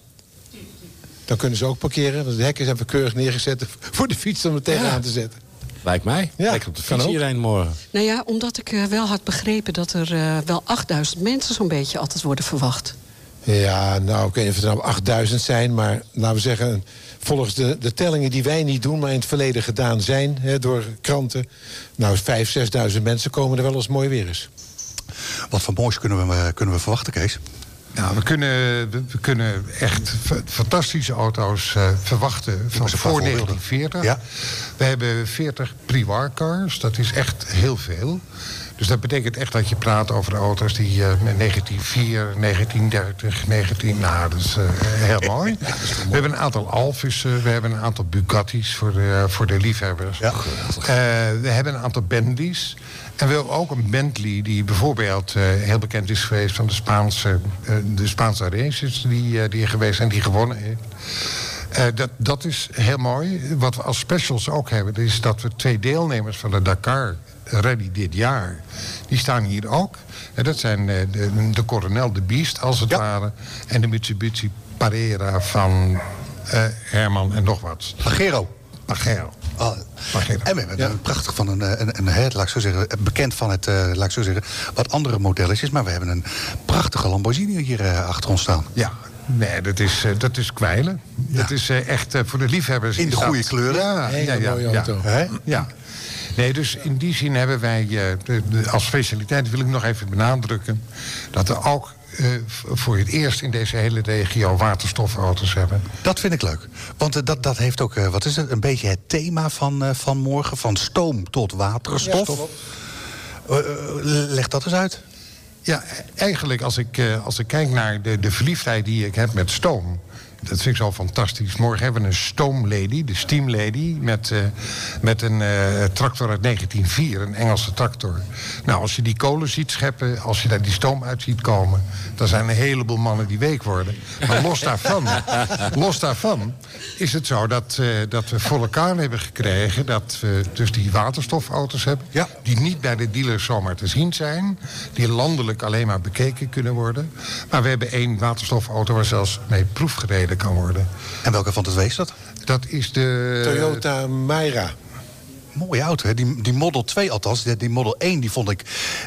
Speaker 9: Dan kunnen ze ook parkeren, want de hekken zijn we keurig neergezet voor de fiets om er tegenaan te zetten.
Speaker 6: Lijkt mij.
Speaker 9: Ja,
Speaker 6: Lijkt op de
Speaker 9: kan
Speaker 6: fiets
Speaker 9: ook.
Speaker 6: hierheen morgen.
Speaker 5: Nou ja, omdat ik eh, wel had begrepen dat er eh, wel 8000 mensen zo'n beetje altijd worden verwacht.
Speaker 9: Ja, nou, ik weet niet of het er nou 8000 zijn, maar laten we zeggen... volgens de, de tellingen die wij niet doen, maar in het verleden gedaan zijn... Hè, door kranten, nou, 5.000, 6.000 mensen komen er wel als het mooi weer is.
Speaker 4: Wat voor moois kunnen we, eh, kunnen we verwachten, Kees?
Speaker 8: Nou, we kunnen, we, we kunnen echt fa- fantastische auto's eh, verwachten van
Speaker 4: eens een paar
Speaker 8: voor
Speaker 4: voorbeelden.
Speaker 8: 1940.
Speaker 4: Ja.
Speaker 8: We hebben 40 pre-war cars, dat is echt heel veel. Dus dat betekent echt dat je praat over auto's die eh, met 1904, 1930, 19... Nou, dat is eh, heel mooi. We hebben een aantal Alfis, eh, we hebben een aantal Bugattis voor de, voor de liefhebbers.
Speaker 4: Ja.
Speaker 8: Eh, we hebben een aantal Bentleys. En we hebben ook een Bentley die bijvoorbeeld eh, heel bekend is geweest van de Spaanse, eh, de Spaanse races die, eh, die er geweest zijn, die gewonnen heeft. Eh, dat, dat is heel mooi. Wat we als specials ook hebben, is dat we twee deelnemers van de Dakar Rally dit jaar, die staan hier ook. En dat zijn eh, de, de Coronel de Beast, als het
Speaker 4: Ja.
Speaker 8: ware, en de Mitsubishi Parera van eh, Herman en nog wat.
Speaker 4: Pagero.
Speaker 8: Pagero.
Speaker 4: Ah,
Speaker 8: Pagero.
Speaker 4: en we hebben een prachtig van een, eh, een, een het, laat ik zo zeggen, eh, bekend van het, eh, laat ik zo zeggen, wat andere modelletjes. Maar we hebben een prachtige Lamborghini hier eh, achter ons staan.
Speaker 8: Ja, nee, dat is, eh, dat is kwijlen. Dat is eh, echt eh, voor de liefhebbers.
Speaker 4: In de
Speaker 8: is dat-
Speaker 4: goede kleuren.
Speaker 8: Ja,
Speaker 9: Hele
Speaker 8: ja, ja,
Speaker 9: mooie
Speaker 8: ja.
Speaker 9: auto.
Speaker 8: Hè? Ja. Nee, dus in die zin hebben wij eh, de- de- als specialiteit, wil ik nog even benadrukken, dat we ook eh, v- voor het eerst in deze hele regio waterstofauto's hebben.
Speaker 4: Dat vind ik leuk. Want eh, dat, dat heeft ook, eh, wat is het, een beetje het thema van, eh, van morgen. Van stoom tot waterstof. Eh, eh, leg dat eens uit.
Speaker 8: Ja, eigenlijk als ik, eh, als ik kijk naar de, de verliefdheid die ik heb met stoom. Dat vind ik zo fantastisch. Morgen hebben we een stoomlady, de steamlady... met, eh, met een eh, tractor uit 1904, een Engelse tractor. Nou, als je die kolen ziet scheppen, als je daar die stoom uit ziet komen... dan zijn een heleboel mannen die week worden. Maar los daarvan, los daarvan is het zo dat, eh, dat we voor elkaar hebben gekregen... dat we dus die waterstofauto's hebben...
Speaker 4: Ja.
Speaker 8: die niet bij de dealers zomaar te zien zijn... die landelijk alleen maar bekeken kunnen worden. Maar we hebben één waterstofauto waar zelfs mee proefgereden kan worden.
Speaker 4: En welke van de twee is dat?
Speaker 8: Dat is de...
Speaker 9: Toyota Myra.
Speaker 4: Mooie auto, hè? Die, die Model 2 althans. Die, die Model 1 die vond ik,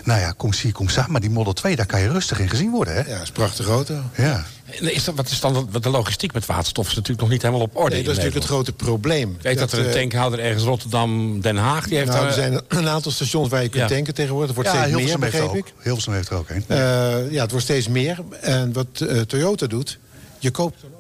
Speaker 4: nou ja, kom zie, kom staan. Maar die Model 2, daar kan je rustig in gezien worden, hè?
Speaker 9: Ja, is een prachtige auto.
Speaker 4: Ja.
Speaker 6: En Is dat, wat is dan wat de logistiek met waterstof? Is natuurlijk nog niet helemaal op orde.
Speaker 9: Nee, dat is natuurlijk het grote probleem.
Speaker 6: Ik weet dat, er een
Speaker 9: eh,
Speaker 6: tankhouder ergens Rotterdam, Den Haag, die heeft
Speaker 9: nou,
Speaker 6: daar-
Speaker 9: er zijn een aantal stations waar je kunt
Speaker 6: Ja.
Speaker 9: tanken tegenwoordig. Het wordt
Speaker 4: Ja,
Speaker 9: steeds meer,
Speaker 4: Hilversum heeft er
Speaker 9: begreep
Speaker 4: ook.
Speaker 9: ik.
Speaker 4: Hilversum heeft er ook een.
Speaker 9: Eh, ja, het wordt steeds meer. En wat eh, Toyota doet, je koopt zo'n auto...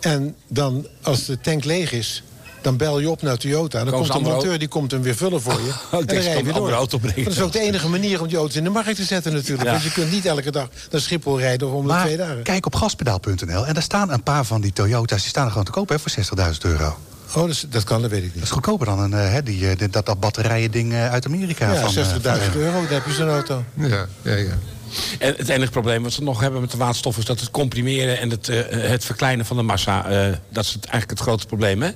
Speaker 9: en dan, als de tank leeg is, dan bel je op naar Toyota... en dan
Speaker 6: Komen ze
Speaker 9: komt de
Speaker 6: andere
Speaker 9: monteur, die komt hem weer vullen voor je. en
Speaker 6: denk, ze
Speaker 9: dan rij
Speaker 6: komen
Speaker 9: je weer door.
Speaker 6: andere auto brengen.
Speaker 9: Want Dat is ook de enige manier om die auto's in de markt te zetten natuurlijk.
Speaker 6: Ja.
Speaker 9: Want je kunt niet elke dag naar Schiphol rijden om de
Speaker 4: Maar
Speaker 9: twee dagen.
Speaker 4: kijk op gaspedaal.nl en daar staan een paar van die Toyota's. Die staan er gewoon te koop hè, voor 60.000 euro. Dat
Speaker 9: Oh, dat, is- dat kan, dat weet ik niet.
Speaker 4: is goedkoper dan een, eh, hè, die, eh, dat, dat batterijen-ding eh, uit Amerika.
Speaker 9: Ja,
Speaker 4: van, eh,
Speaker 9: 60.000 euro, dan heb je zo'n auto.
Speaker 8: Ja, ja, ja.
Speaker 6: En het enige probleem wat ze nog hebben met de waterstof... is dat het comprimeren en het, eh, het verkleinen van de massa... eh, dat is het, eigenlijk het grootste probleem, hè?
Speaker 4: Ja,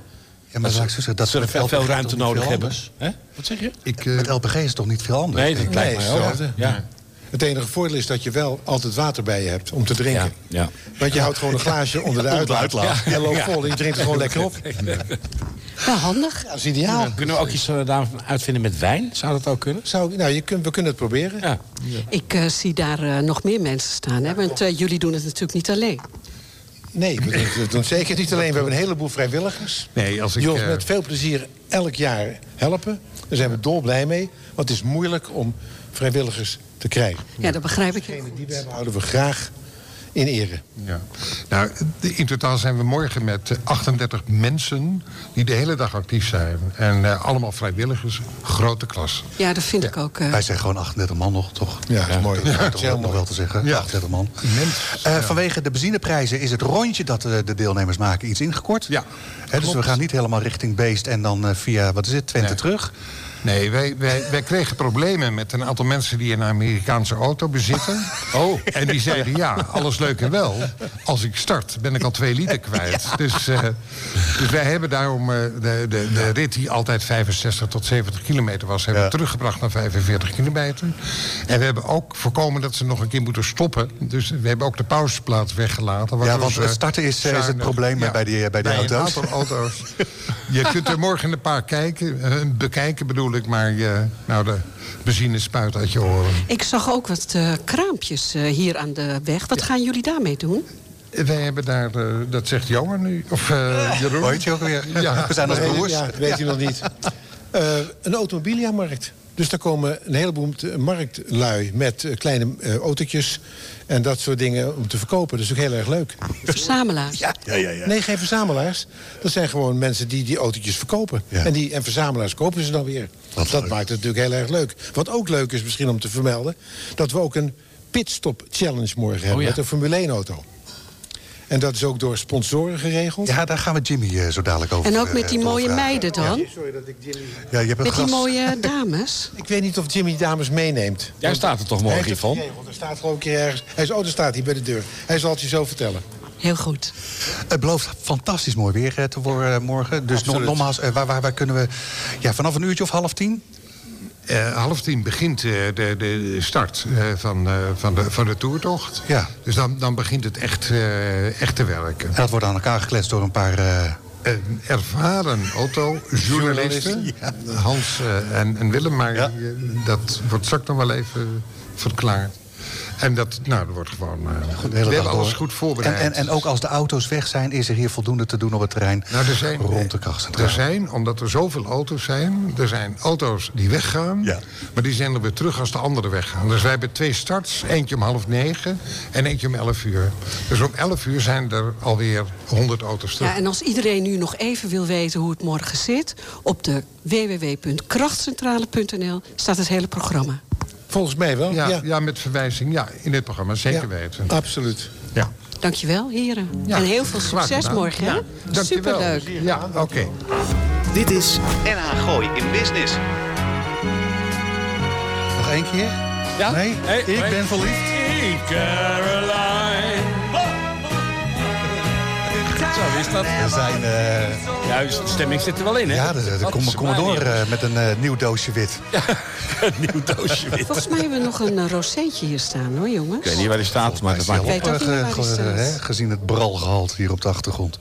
Speaker 4: maar
Speaker 6: ze-
Speaker 4: laat ik zo zeggen, dat
Speaker 6: ze er
Speaker 4: met
Speaker 6: veel,
Speaker 4: LPG
Speaker 6: veel
Speaker 4: is
Speaker 6: ruimte
Speaker 4: toch niet
Speaker 6: nodig
Speaker 4: veel
Speaker 6: hebben.
Speaker 4: anders?
Speaker 6: Hè? Wat zeg je?
Speaker 8: Ik, eh,
Speaker 4: Met LPG is toch niet veel anders?
Speaker 6: Nee, dat
Speaker 9: Nee,
Speaker 6: lijkt mij ook.
Speaker 9: hetzelfde.
Speaker 6: Ja.
Speaker 9: Het enige voordeel is dat je wel altijd water bij je hebt om te drinken.
Speaker 6: Ja, ja.
Speaker 9: Want je houdt gewoon een glaasje onder de
Speaker 4: Onder de
Speaker 9: uitlaat.
Speaker 4: uitlaat.
Speaker 9: En loopt vol en je drinkt het gewoon lekker op.
Speaker 5: Wel handig.
Speaker 9: Dat is ideaal.
Speaker 6: Kunnen we ook iets eh, daarvan uitvinden met wijn? Zou dat ook kunnen?
Speaker 9: Zou, ik- nou, je kunt, we kunnen het proberen.
Speaker 6: Ja.
Speaker 5: Ik eh, zie daar eh, nog meer mensen staan. Hè? Want eh, jullie doen het natuurlijk niet alleen.
Speaker 9: Nee, we doen, we doen het zeker niet alleen. We hebben een heleboel vrijwilligers.
Speaker 8: Nee, als ik,
Speaker 9: die ons
Speaker 8: eh,
Speaker 9: met veel plezier elk jaar helpen. Daar zijn we dolblij mee. Want het is moeilijk om vrijwilligers te krijgen.
Speaker 5: Ja, dat begrijp ik.
Speaker 9: Degene die we hebben, houden we graag in ere.
Speaker 8: Ja. Nou, de- in totaal zijn we morgen met eh, 38 mensen die de hele dag actief zijn. En eh, allemaal vrijwilligers, grote klas.
Speaker 5: Ja, dat vind ik ook. eh.
Speaker 4: Wij zijn gewoon 38 man nog, toch?
Speaker 9: Ja, dat is mooi.
Speaker 4: Dat
Speaker 9: Ja,
Speaker 4: is toch nog wel te zeggen,
Speaker 8: Ja.
Speaker 4: 38 man.
Speaker 8: Immens,
Speaker 4: Eh, Vanwege de benzineprijzen is het rondje dat eh, de deelnemers maken iets ingekort.
Speaker 8: Ja,
Speaker 4: Hè, dus we gaan niet helemaal richting Beest en dan eh, via, wat is het, Twente
Speaker 8: Nee.
Speaker 4: terug.
Speaker 8: Nee, wij, wij, wij kregen problemen met een aantal mensen die een Amerikaanse auto bezitten. Oh. En die zeiden, ja, alles leuk en wel. Als ik start, ben ik al twee liter kwijt. Dus, eh, dus wij hebben daarom eh, de, de, de rit die altijd 65 tot 70 kilometer was... hebben we teruggebracht naar 45 kilometer. En we hebben ook voorkomen dat ze nog een keer moeten stoppen. Dus we hebben ook de pauzeplaats weggelaten.
Speaker 4: Ja,
Speaker 8: waardoor
Speaker 4: want
Speaker 8: ze
Speaker 4: het starten is, eh, is het
Speaker 8: zuinig-
Speaker 4: probleem, eh, bij die, eh, bij die
Speaker 8: een
Speaker 4: auto's.
Speaker 8: aantal auto's. Je kunt er morgen een paar kijken, eh, bekijken bedoel ik, maar je, nou, de benzine spuit uit je oren.
Speaker 5: Ik zag ook wat eh, kraampjes eh, hier aan de weg. Wat gaan jullie daarmee doen?
Speaker 8: Wij hebben daar, eh, dat zegt Johan nu, of eh Jeroen.
Speaker 4: Hoort je ook weer?
Speaker 8: Ja.
Speaker 4: We zijn als
Speaker 9: Nee,
Speaker 4: broers.
Speaker 9: Ja, dat weet je nog niet. Eh, een automobiliamarkt. Dus daar komen een heleboel t- marktlui met eh, kleine eh, autootjes en dat soort dingen om te verkopen. Dat is ook heel erg leuk.
Speaker 5: Verzamelaars.
Speaker 4: Ja, ja, ja.
Speaker 9: Nee, geen verzamelaars. Dat zijn gewoon mensen die die autootjes verkopen.
Speaker 4: Ja.
Speaker 9: En, die, en verzamelaars kopen ze dan weer.
Speaker 4: Wat
Speaker 9: dat
Speaker 4: leuk.
Speaker 9: maakt het natuurlijk heel erg leuk. Wat ook leuk is misschien om te vermelden... dat we ook een pitstop challenge morgen hebben
Speaker 6: Oh, ja.
Speaker 9: met een Formule 1 auto. En dat is ook door sponsoren geregeld.
Speaker 4: Ja, daar gaan we Jimmy eh, zo dadelijk over
Speaker 5: En ook
Speaker 4: eh,
Speaker 5: met die mooie
Speaker 4: doorvragen.
Speaker 5: meiden dan?
Speaker 9: Sorry dat ik Jimmy...
Speaker 4: Ja, je hebt een
Speaker 5: Met die
Speaker 4: gast.
Speaker 5: mooie dames?
Speaker 9: Ik weet niet of Jimmy die dames meeneemt.
Speaker 6: Jij staat er toch
Speaker 9: Hij
Speaker 6: morgen,
Speaker 9: heeft het
Speaker 6: Yvonne?
Speaker 9: geregeld. Er staat gewoon een keer ergens. Hij is, oh, er staat hier bij de deur. Hij zal het je zo vertellen.
Speaker 5: Heel goed.
Speaker 4: Het belooft fantastisch mooi weer eh, te worden morgen. Dus no-
Speaker 9: Absoluut.
Speaker 4: nogmaals, eh, waar, waar, waar kunnen we... Ja, vanaf een uurtje of half tien?
Speaker 8: Eh, half tien begint eh, de, de start eh, van, eh, van, de, van de toertocht.
Speaker 4: Ja.
Speaker 8: Dus dan, dan begint het echt, eh, echt te werken.
Speaker 4: En dat wordt aan elkaar gekletst door een paar... eh,
Speaker 8: Een ervaren auto-journalisten, Hans eh, en, en Willem, maar
Speaker 4: Ja.
Speaker 8: eh, dat wordt straks nog wel even verklaard. En dat, nou, dat wordt gewoon. eh,
Speaker 4: Goed, de
Speaker 8: we
Speaker 4: hele
Speaker 8: hebben
Speaker 4: dag
Speaker 8: alles
Speaker 4: door.
Speaker 8: goed voorbereid.
Speaker 4: En, en, en ook als de auto's weg zijn, is er hier voldoende te doen op het terrein
Speaker 8: nou, er zijn,
Speaker 4: rond de
Speaker 8: Er
Speaker 4: krachtcentrale.
Speaker 8: zijn, omdat er zoveel auto's zijn, er zijn auto's die weggaan,
Speaker 4: Ja.
Speaker 8: maar die zijn er weer terug als de anderen weggaan. Dus wij hebben twee starts, eentje om half negen en eentje om elf uur. Dus om elf uur zijn er alweer honderd auto's terug.
Speaker 5: Ja, en als iedereen nu nog even wil weten hoe het morgen zit... op de www.krachtcentrale.nl staat het hele programma.
Speaker 9: Volgens mij wel.
Speaker 8: Ja,
Speaker 9: Ja,
Speaker 8: ja. met verwijzing ja, in dit programma, zeker
Speaker 9: Ja,
Speaker 8: weten.
Speaker 9: Absoluut.
Speaker 8: Ja.
Speaker 5: Dankjewel, heren.
Speaker 8: Ja,
Speaker 5: en heel veel
Speaker 8: graag
Speaker 5: succes
Speaker 8: gedaan.
Speaker 5: morgen. hè?
Speaker 8: Ja, dankjewel.
Speaker 5: Superleuk.
Speaker 8: Ja, oké.
Speaker 1: Dit is NH Gooi in Business.
Speaker 4: Nog één keer?
Speaker 6: Ja?
Speaker 4: Nee?
Speaker 6: Hey,
Speaker 4: ik
Speaker 6: hey.
Speaker 4: ben verliefd.
Speaker 6: Zo Nou, is dat.
Speaker 4: Er zijn... eh,
Speaker 6: Juist, de stemming zit er wel in, hè?
Speaker 4: ja, er, er
Speaker 6: Dat
Speaker 4: kom,
Speaker 6: is
Speaker 4: kom maar door
Speaker 6: waar,
Speaker 4: eh, met een eh, nieuw doosje wit.
Speaker 6: Een nieuw doosje wit.
Speaker 5: Volgens mij hebben we nog een eh, rozeetje hier staan, hoor, jongens.
Speaker 6: Ik weet niet waar die staat, maar dat
Speaker 4: Is die eh,
Speaker 6: maakt
Speaker 4: al
Speaker 6: niet
Speaker 5: Ik weet ook niet
Speaker 4: opge-
Speaker 5: meer waar die
Speaker 4: ge-
Speaker 5: staat.
Speaker 4: hè, gezien het bralgehalte hier op de achtergrond.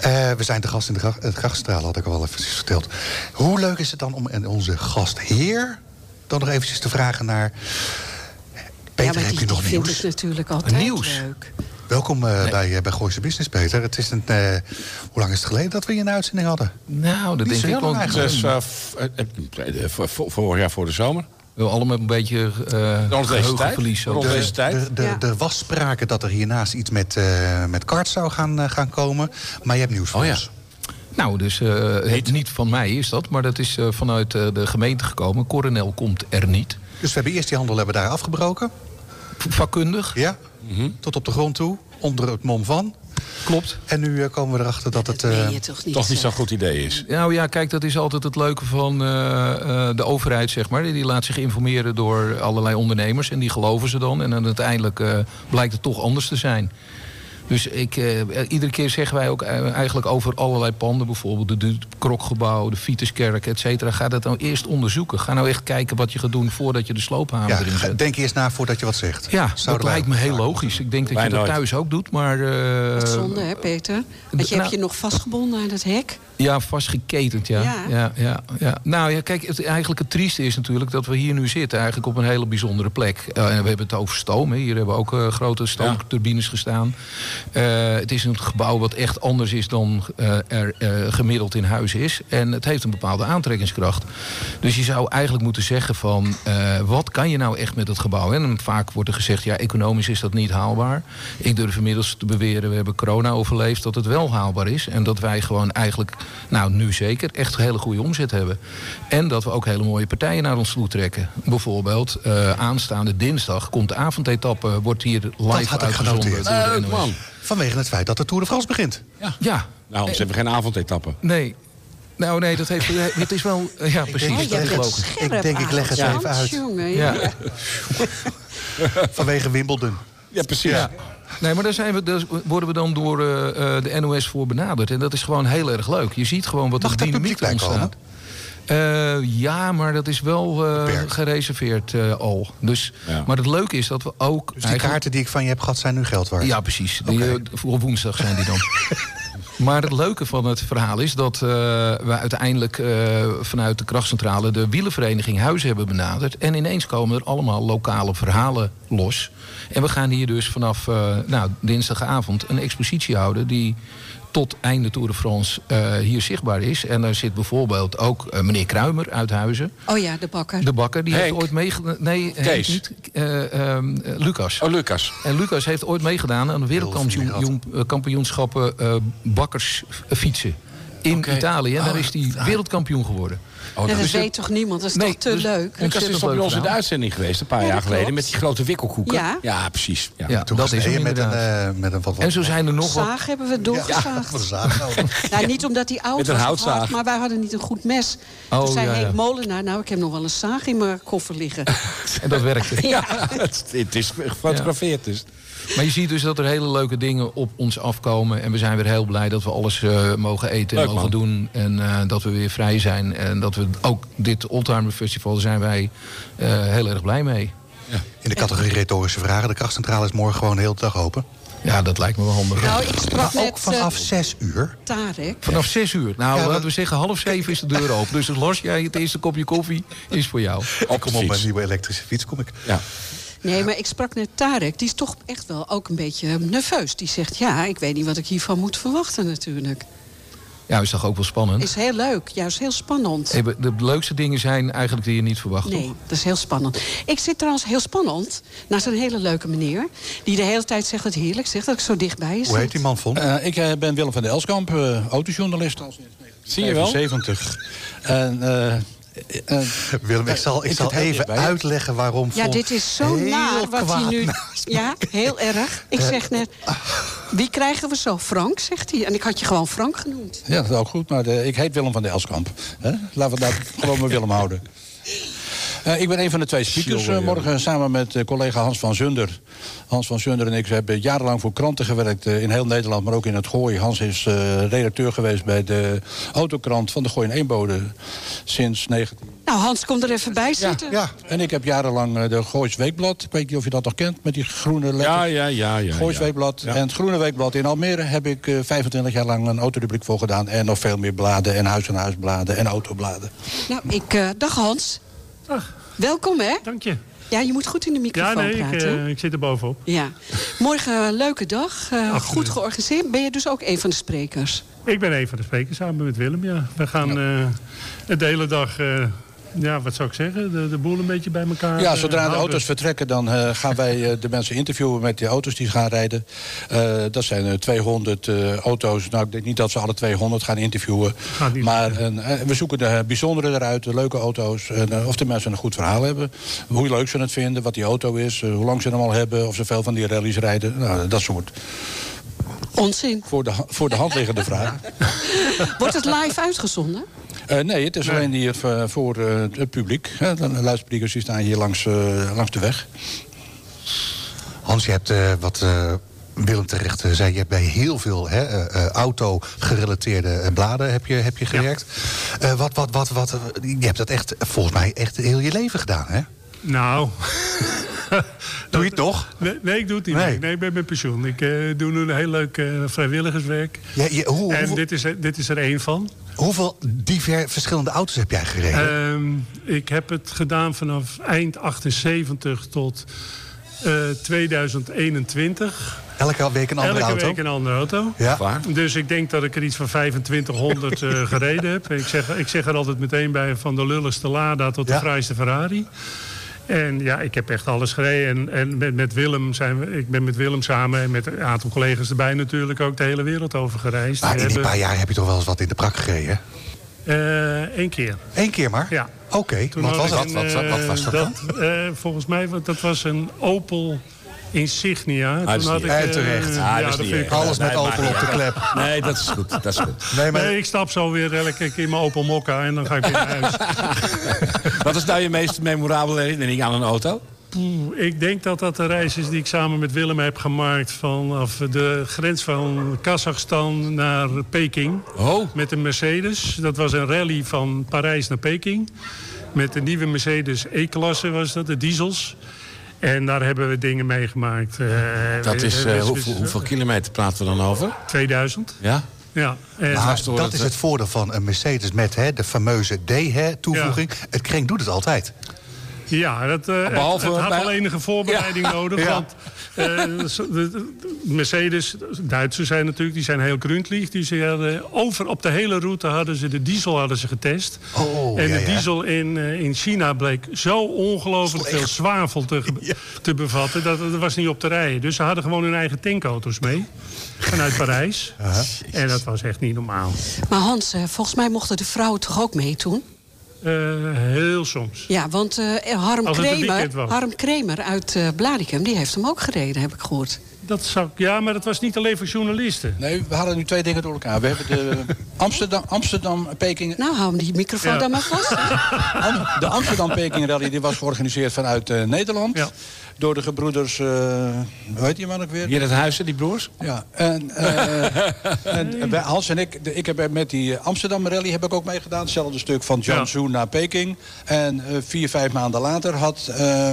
Speaker 4: Eh, we zijn te gast in de gra- het grachtstraal, had ik al wel eventjes verteld. Hoe leuk is het dan om en onze gastheer dan nog eventjes te vragen naar...
Speaker 5: ja,
Speaker 4: Peter,
Speaker 5: maar
Speaker 4: heb
Speaker 5: die,
Speaker 4: je nog
Speaker 5: die vindt het
Speaker 4: nieuws?
Speaker 5: natuurlijk altijd eh,
Speaker 4: Nieuws.
Speaker 5: leuk.
Speaker 4: Welkom eh, bij, eh bij Gooise Business, Peter. Het is een, eh, hoe lang is het geleden dat we je een uitzending hadden?
Speaker 2: Nou, dat
Speaker 4: Niet
Speaker 2: denk
Speaker 4: zo
Speaker 2: ik
Speaker 4: heel lang
Speaker 2: wel.
Speaker 4: eigenlijk.
Speaker 6: Dus eh, f- eh, eh, eh, voor- voor- vorig jaar voor de zomer.
Speaker 2: We allemaal een beetje eh
Speaker 6: Rond deze tijd.
Speaker 2: geheugenverlies. ook.
Speaker 6: Rond
Speaker 2: De-
Speaker 6: deze tijd.
Speaker 4: Er, er-
Speaker 5: Ja.
Speaker 4: er was sprake dat er hiernaast iets met, eh met karts zou gaan, eh, gaan komen. Maar je hebt nieuws voor
Speaker 6: Oh ja.
Speaker 4: ons.
Speaker 2: Nou, dus eh, het niet van mij is dat, maar dat is eh, vanuit eh, de gemeente gekomen. Coronel komt er niet.
Speaker 4: Dus we hebben eerst die handel hebben we daar afgebroken.
Speaker 2: Vakkundig,
Speaker 4: Ja,
Speaker 6: Mhm.
Speaker 4: tot op de grond toe, onder het mom van.
Speaker 2: klopt.
Speaker 4: En nu eh, komen we erachter dat het...
Speaker 5: Dat
Speaker 4: eh,
Speaker 5: meen je toch niet?
Speaker 6: Toch niet
Speaker 5: zeg.
Speaker 6: zo'n goed idee is.
Speaker 2: Nou ja, kijk, dat is altijd het leuke van eh, eh, de overheid, zeg maar. Die laat zich informeren door allerlei ondernemers en die geloven ze dan. En dan uiteindelijk eh, blijkt het toch anders te zijn. Dus ik, eh, iedere keer zeggen wij ook eh, eigenlijk over allerlei panden, bijvoorbeeld het Krokgebouw, de Fietuskerk, et cetera. Ga dat nou eerst onderzoeken. Ga nou echt kijken wat je gaat doen voordat je de sloophamer
Speaker 4: ja,
Speaker 2: erin
Speaker 4: ga-
Speaker 2: zet.
Speaker 4: denk eerst na voordat je wat zegt.
Speaker 2: Ja,
Speaker 4: Zouden
Speaker 2: dat
Speaker 4: wij-
Speaker 2: lijkt me heel logisch. Ik denk dat
Speaker 6: Wij
Speaker 2: je dat
Speaker 6: nooit.
Speaker 2: thuis ook doet, maar... eh,
Speaker 5: Wat zonde, hè, Peter? Want je
Speaker 2: nou-
Speaker 5: hebt je nog vastgebonden aan dat hek.
Speaker 2: Ja, vastgeketend, ja.
Speaker 5: Ja.
Speaker 2: Ja. Ja, ja, Nou ja, kijk, het, eigenlijk het trieste is natuurlijk dat we hier nu zitten. Eigenlijk op een hele bijzondere plek. Eh, en we hebben het over stoom. Hè. Hier hebben ook eh, grote stoomturbines gestaan. Eh, het is een gebouw wat echt anders is dan eh, er eh, gemiddeld in huis is. En het heeft een bepaalde aantrekkingskracht. Dus je zou eigenlijk moeten zeggen van... eh, wat kan je nou echt met het gebouw? hè? En vaak wordt er gezegd, ja, economisch is dat niet haalbaar. Ik durf inmiddels te beweren, we hebben corona overleefd... dat het wel haalbaar is. En dat wij gewoon eigenlijk, nou nu zeker, echt hele goede omzet hebben. En dat we ook hele mooie partijen naar ons toe trekken. Bijvoorbeeld, eh, aanstaande dinsdag komt de avondetappe... wordt hier
Speaker 4: Dat
Speaker 2: live
Speaker 4: had ik
Speaker 2: uitgezonden
Speaker 4: genoteerd.
Speaker 2: door de NOS.
Speaker 4: Vanwege het feit dat de Tour de France begint.
Speaker 2: Ja,
Speaker 6: Nou, ze hebben geen avondetappen.
Speaker 2: nee... Nou nee, dat heeft, het is wel... Ja, precies.
Speaker 5: Oh, jij
Speaker 2: dat is
Speaker 5: bent
Speaker 2: logisch.
Speaker 5: scherp,
Speaker 4: Ik denk, ik leg het
Speaker 5: Aad.
Speaker 4: even uit.
Speaker 5: Jongen,
Speaker 2: Ja.
Speaker 5: ja.
Speaker 4: Vanwege Wimbledon.
Speaker 6: Ja, precies.
Speaker 2: Ja. Nee, maar daar, zijn we, daar worden we dan door eh, eh, de NOS voor benaderd. En dat is gewoon heel erg leuk. Je ziet gewoon wat
Speaker 4: Mag
Speaker 2: de
Speaker 4: daar
Speaker 2: dynamiek
Speaker 4: publiek bij
Speaker 2: ontstaat. Eh, ja, maar dat is wel eh,
Speaker 4: Beperkt.
Speaker 2: gereserveerd eh, al. Dus,
Speaker 6: Ja.
Speaker 2: Maar het leuke is dat we ook...
Speaker 4: Dus die
Speaker 2: eigenlijk-
Speaker 4: kaarten die ik van je heb gehad zijn nu geld waard.
Speaker 2: ja, precies. Die, eh, voor woensdag zijn die dan. Maar het leuke van het verhaal is dat eh, we uiteindelijk eh, vanuit de krachtcentrale de wielenvereniging Huizen hebben benaderd. En ineens komen er allemaal lokale verhalen los. En we gaan hier dus vanaf eh, nou, dinsdagavond een expositie houden die tot einde Tour de France eh, hier zichtbaar is. En daar zit bijvoorbeeld ook eh, meneer Kruimer uit Huizen.
Speaker 5: Oh ja, de bakker.
Speaker 2: De bakker, die
Speaker 6: Henk.
Speaker 2: heeft ooit meegedaan... Nee, Henk
Speaker 6: Kees.
Speaker 2: niet. Eh, ehm, eh, Lucas.
Speaker 6: Oh, Lucas.
Speaker 2: En Lucas heeft ooit meegedaan aan de wereldkampioenschappen eh, bakkersfietsen. In
Speaker 6: Oké.
Speaker 2: Italië. En daar
Speaker 6: Oh,
Speaker 2: is hij wereldkampioen geworden.
Speaker 5: Ja, dat
Speaker 2: Dus het-
Speaker 5: weet toch niemand? Dat is
Speaker 2: Nee,
Speaker 5: toch te
Speaker 2: dus-
Speaker 5: leuk?
Speaker 6: Lucas is
Speaker 2: Ontzettend
Speaker 6: toch bij
Speaker 2: leuk
Speaker 6: ons in de
Speaker 2: verhaal.
Speaker 6: uitzending geweest, een paar jaar
Speaker 5: klopt.
Speaker 6: geleden, met die grote wikkelkoeken.
Speaker 5: Ja.
Speaker 6: precies. Ja.
Speaker 2: Ja,
Speaker 4: Toen
Speaker 2: dat is hem
Speaker 4: met een,
Speaker 2: inderdaad.
Speaker 4: eh, met een wat, wat
Speaker 2: En zo zijn er nog wat.
Speaker 5: Zaag hebben we
Speaker 4: Ja,
Speaker 5: doorgezaagd.
Speaker 4: wat een zaag. Nou,
Speaker 5: Nou, niet omdat hij oud
Speaker 6: Met een
Speaker 5: was, of
Speaker 6: houtzaag.
Speaker 5: hard, maar wij hadden niet een goed mes.
Speaker 2: Oh,
Speaker 5: Toen zei
Speaker 2: ja, ja.
Speaker 5: Henk Molenaar, nou, ik heb nog wel een zaag in mijn koffer liggen.
Speaker 2: En dat werkte.
Speaker 6: Ja, het, het is gefotografeerd. Dus.
Speaker 2: Maar je ziet dus dat er hele leuke dingen op ons afkomen. En we zijn weer heel blij dat we alles eh, mogen eten en
Speaker 6: Leuk,
Speaker 2: mogen
Speaker 6: man.
Speaker 2: doen. En eh, dat we weer vrij zijn. En dat we ook dit Oldtimer Festival daar zijn wij eh, heel erg blij mee.
Speaker 4: In de categorie retorische vragen. De krachtcentrale is morgen gewoon de hele dag open.
Speaker 2: Ja, dat lijkt me wel handig.
Speaker 5: nou, ik sprak
Speaker 4: Maar
Speaker 5: met
Speaker 4: ook vanaf
Speaker 5: eh,
Speaker 4: zes uur.
Speaker 5: Tarek.
Speaker 2: Vanaf zes uur. Nou,
Speaker 4: Ja,
Speaker 2: laten
Speaker 4: dat-
Speaker 2: we zeggen, half zeven is de deur open. Dus los jij het eerste kopje koffie is voor jou.
Speaker 6: Op
Speaker 4: Kom op mijn nieuwe elektrische fiets, kom ik.
Speaker 6: Ja.
Speaker 5: Nee, maar ik sprak met Tarek. Die is toch echt wel ook een beetje eh, nerveus. Die zegt, ja, ik weet niet wat ik hiervan moet verwachten natuurlijk.
Speaker 2: Ja, is toch ook wel spannend?
Speaker 5: Is heel leuk, juist heel spannend.
Speaker 2: Hey, De leukste dingen zijn eigenlijk die je niet verwacht.
Speaker 5: Nee,
Speaker 2: toch?
Speaker 5: dat is heel spannend. Ik zit trouwens heel spannend naar zo'n hele leuke meneer... die de hele tijd zegt dat het heerlijk zegt dat ik zo dichtbij
Speaker 4: Hoe
Speaker 5: zit.
Speaker 4: heet die man, Von?
Speaker 10: Eh, ik eh, ben Willem van der Elskamp, eh, autojournalist al sinds
Speaker 6: Zie je wel?
Speaker 10: 1970. En, eh, eh,
Speaker 4: Willem, ik zal, ik
Speaker 10: Ik
Speaker 4: zal
Speaker 10: zit heel
Speaker 4: even
Speaker 10: dichtbij.
Speaker 4: uitleggen waarom
Speaker 5: Ja,
Speaker 4: Von
Speaker 5: dit is zo
Speaker 4: heel
Speaker 5: naar wat hij
Speaker 4: kwaad
Speaker 5: nu...
Speaker 4: naast me
Speaker 5: Ja, heel erg.
Speaker 4: Eh,
Speaker 5: Ik zeg net, wie krijgen we zo? Frank, zegt hij. En ik had je gewoon Frank genoemd.
Speaker 10: ja, dat is ook goed, maar de- ik heet Willem van der Elskamp. hè? Laten we daar gewoon maar Willem houden. Eh, ik ben een van de twee speakers eh, morgen samen met eh, collega Hans van Zunder. Hans van Zunder en ik hebben jarenlang voor kranten gewerkt eh, in heel Nederland, maar ook in het Gooi. Hans is eh, redacteur geweest bij de autokrant van de Gooi en Eenbode sinds 19...
Speaker 5: Nou, Hans, kom er even bij zitten.
Speaker 4: Ja,
Speaker 10: En ik heb jarenlang eh, de Goois Weekblad. Ik weet niet of je dat nog kent, met die groene letters.
Speaker 6: Ja, ja, ja. ja,
Speaker 10: Goois
Speaker 6: ja.
Speaker 10: Weekblad. En het Groene Weekblad in Almere heb ik eh, 25 jaar lang een autorubriek voor gedaan. En nog veel meer bladen en huis-aan-huisbladen en autobladen.
Speaker 5: Nou, ik... eh, dag, Hans. Welkom, hè?
Speaker 11: Dank je.
Speaker 5: Ja, je moet goed in de
Speaker 11: Ja,
Speaker 5: microfoon
Speaker 11: nee, ik,
Speaker 5: praten.
Speaker 11: eh, ik zit er bovenop.
Speaker 5: Ja. Morgen eh, leuke dag. eh, goed georganiseerd. Ben je dus ook een van de sprekers?
Speaker 11: Ik ben een van de sprekers samen met Willem. Ja. We gaan eh, de hele dag, eh, ja, wat zou ik zeggen, de, de boel een beetje bij elkaar
Speaker 10: Ja,
Speaker 11: eh,
Speaker 10: zodra de
Speaker 11: houden.
Speaker 10: auto's vertrekken, dan eh, gaan wij eh, de mensen interviewen met de auto's die gaan rijden. Eh, dat zijn eh, 200 eh, auto's. Nou, ik denk niet dat ze alle 200 gaan interviewen.
Speaker 11: Gaat niet.
Speaker 10: maar eh, eh, we zoeken de eh, bijzondere eruit, de leuke auto's. En, eh, of de mensen een goed verhaal hebben. Hoe leuk ze het vinden, wat die auto is, eh, hoe lang ze hem al hebben. Of ze veel van die rallies rijden. Nou, dat soort
Speaker 5: Onzin.
Speaker 10: voor de, ha- voor de hand liggende vragen.
Speaker 5: Wordt het live uitgezonden?
Speaker 10: Eh, nee, het is alleen hier eh, voor eh, het publiek. hè. De luidsprekers die staan hier langs, eh, langs de weg.
Speaker 4: Hans, je hebt eh, wat eh, Willem terecht eh, zei, je hebt bij heel veel hè, eh, eh, auto-gerelateerde eh, bladen heb je, heb je gewerkt. Eh, wat, wat, wat, wat, eh, je hebt dat echt, eh, volgens mij, echt heel je leven gedaan, hè?
Speaker 11: Nou.
Speaker 4: Doe je het nog?
Speaker 11: Nee, nee, ik doe het niet.
Speaker 4: Nee.
Speaker 11: Nee, nee ik ben met pensioen. Ik eh, doe nu een heel leuk eh, vrijwilligerswerk.
Speaker 4: Ja, je, hoe,
Speaker 11: En
Speaker 4: hoe-
Speaker 11: dit is, er- dit is er één van.
Speaker 4: Hoeveel diver, verschillende auto's heb jij gereden?
Speaker 11: Ehm, ik heb het gedaan vanaf eind 78 tot eh, 2021.
Speaker 4: Elke week een andere
Speaker 11: Elke
Speaker 4: auto?
Speaker 11: week een andere auto.
Speaker 4: Ja. Waar?
Speaker 11: Dus ik denk dat ik er iets van 2500 eh, gereden heb. Ik zeg, ik zeg er altijd meteen bij van de lulligste Lada tot de fraaiste Ferrari. En ja, ik heb echt alles gereden. En, en met, met Willem zijn we, ik ben met Willem samen en met een aantal collega's erbij natuurlijk ook de hele wereld over gereisd.
Speaker 4: Maar
Speaker 11: We
Speaker 4: in die
Speaker 11: hebben-
Speaker 4: paar jaar heb je toch wel eens wat in de prak gereden? hè?
Speaker 11: Eén keer.
Speaker 4: Eén keer maar?
Speaker 11: Ja.
Speaker 4: Oké, wat was dat? Wat- wat- wat was dat dan?
Speaker 11: eh, volgens mij, wa- dat was een Opel Insignia.
Speaker 6: Ah, dat is
Speaker 11: Toen had
Speaker 6: niet
Speaker 11: ik,
Speaker 6: erg.
Speaker 11: eh,
Speaker 6: terecht. Ah,
Speaker 11: ja,
Speaker 6: dat is
Speaker 11: dat
Speaker 6: niet
Speaker 11: vind
Speaker 6: erg.
Speaker 11: ik wel.
Speaker 6: Nee, maakt niet uit. Nee, dat is goed. Dat is goed.
Speaker 11: Nee, ik stap zo weer elke keer in mijn Opel Mokka en dan ga ik weer naar huis.
Speaker 6: Wat is nou je meest memorabele herinnering aan een auto?
Speaker 11: Poeh, Ik denk dat dat de reis is die ik samen met Willem heb gemaakt... vanaf de grens van Kazachstan naar Peking. Met een Mercedes. Dat was een rally van Parijs naar Peking. Met de nieuwe Mercedes E-klasse was dat, de diesels. En daar hebben we dingen meegemaakt. Eh, dus
Speaker 6: Dat
Speaker 11: we-
Speaker 6: is,
Speaker 11: we-
Speaker 6: eh,
Speaker 11: we-
Speaker 6: hoeveel, hoeveel kilometer praten we dan over?
Speaker 11: 2000.
Speaker 6: Ja?
Speaker 11: Ja. En
Speaker 4: Maar dat is het
Speaker 2: eh,
Speaker 4: voordeel van een Mercedes met hè, de fameuze D-toevoeging. Het kring doet het altijd.
Speaker 11: Ja, dat, eh, het-
Speaker 4: Behalve
Speaker 11: het, had
Speaker 4: bij-
Speaker 11: wel enige voorbereiding
Speaker 4: Ja.
Speaker 11: nodig.
Speaker 4: Ja.
Speaker 11: Want eh, de- de- de Mercedes, Duitsers zijn natuurlijk, die zijn heel grundlief. Die ze hadden, over op de hele route hadden ze de diesel hadden ze getest. en
Speaker 4: Oh, ja,
Speaker 11: de
Speaker 4: ja.
Speaker 11: diesel in, eh, in China bleek zo ongelooflijk veel zwavel te, ge- te bevatten. Dat, dat was niet op te rijden. Dus ze hadden gewoon hun eigen tankauto's mee. Vanuit Parijs. En dat was echt niet normaal.
Speaker 5: Maar Hans, eh, volgens mij mochten de vrouwen toch ook mee toen?
Speaker 11: Eh, heel soms.
Speaker 5: Ja, want eh, Harm,
Speaker 11: Als het een weekend
Speaker 5: Kremer,
Speaker 11: was.
Speaker 5: Harm Kremer uit eh Blaricum, die heeft hem ook gereden, heb ik gehoord.
Speaker 11: Dat zou, ja, maar dat was niet alleen voor journalisten.
Speaker 10: Nee, we hadden nu twee dingen door elkaar. We hebben de Amsterdam, Amsterdam eh, Peking...
Speaker 5: Nou, hou hem die microfoon
Speaker 10: Ja.
Speaker 5: dan maar vast.
Speaker 10: Am- De Amsterdam Peking Rally die was georganiseerd vanuit eh, Nederland. Door de gebroeders... eh hoe heet die man ook weer?
Speaker 6: Hier het huizen, die broers?
Speaker 10: Ja, en, eh, en wij- Hans en ik, de- ik heb er met die eh, Amsterdam Rally heb ik ook meegedaan. Hetzelfde stuk van Jiangsu naar Peking. En eh, vier, vijf maanden later had eh,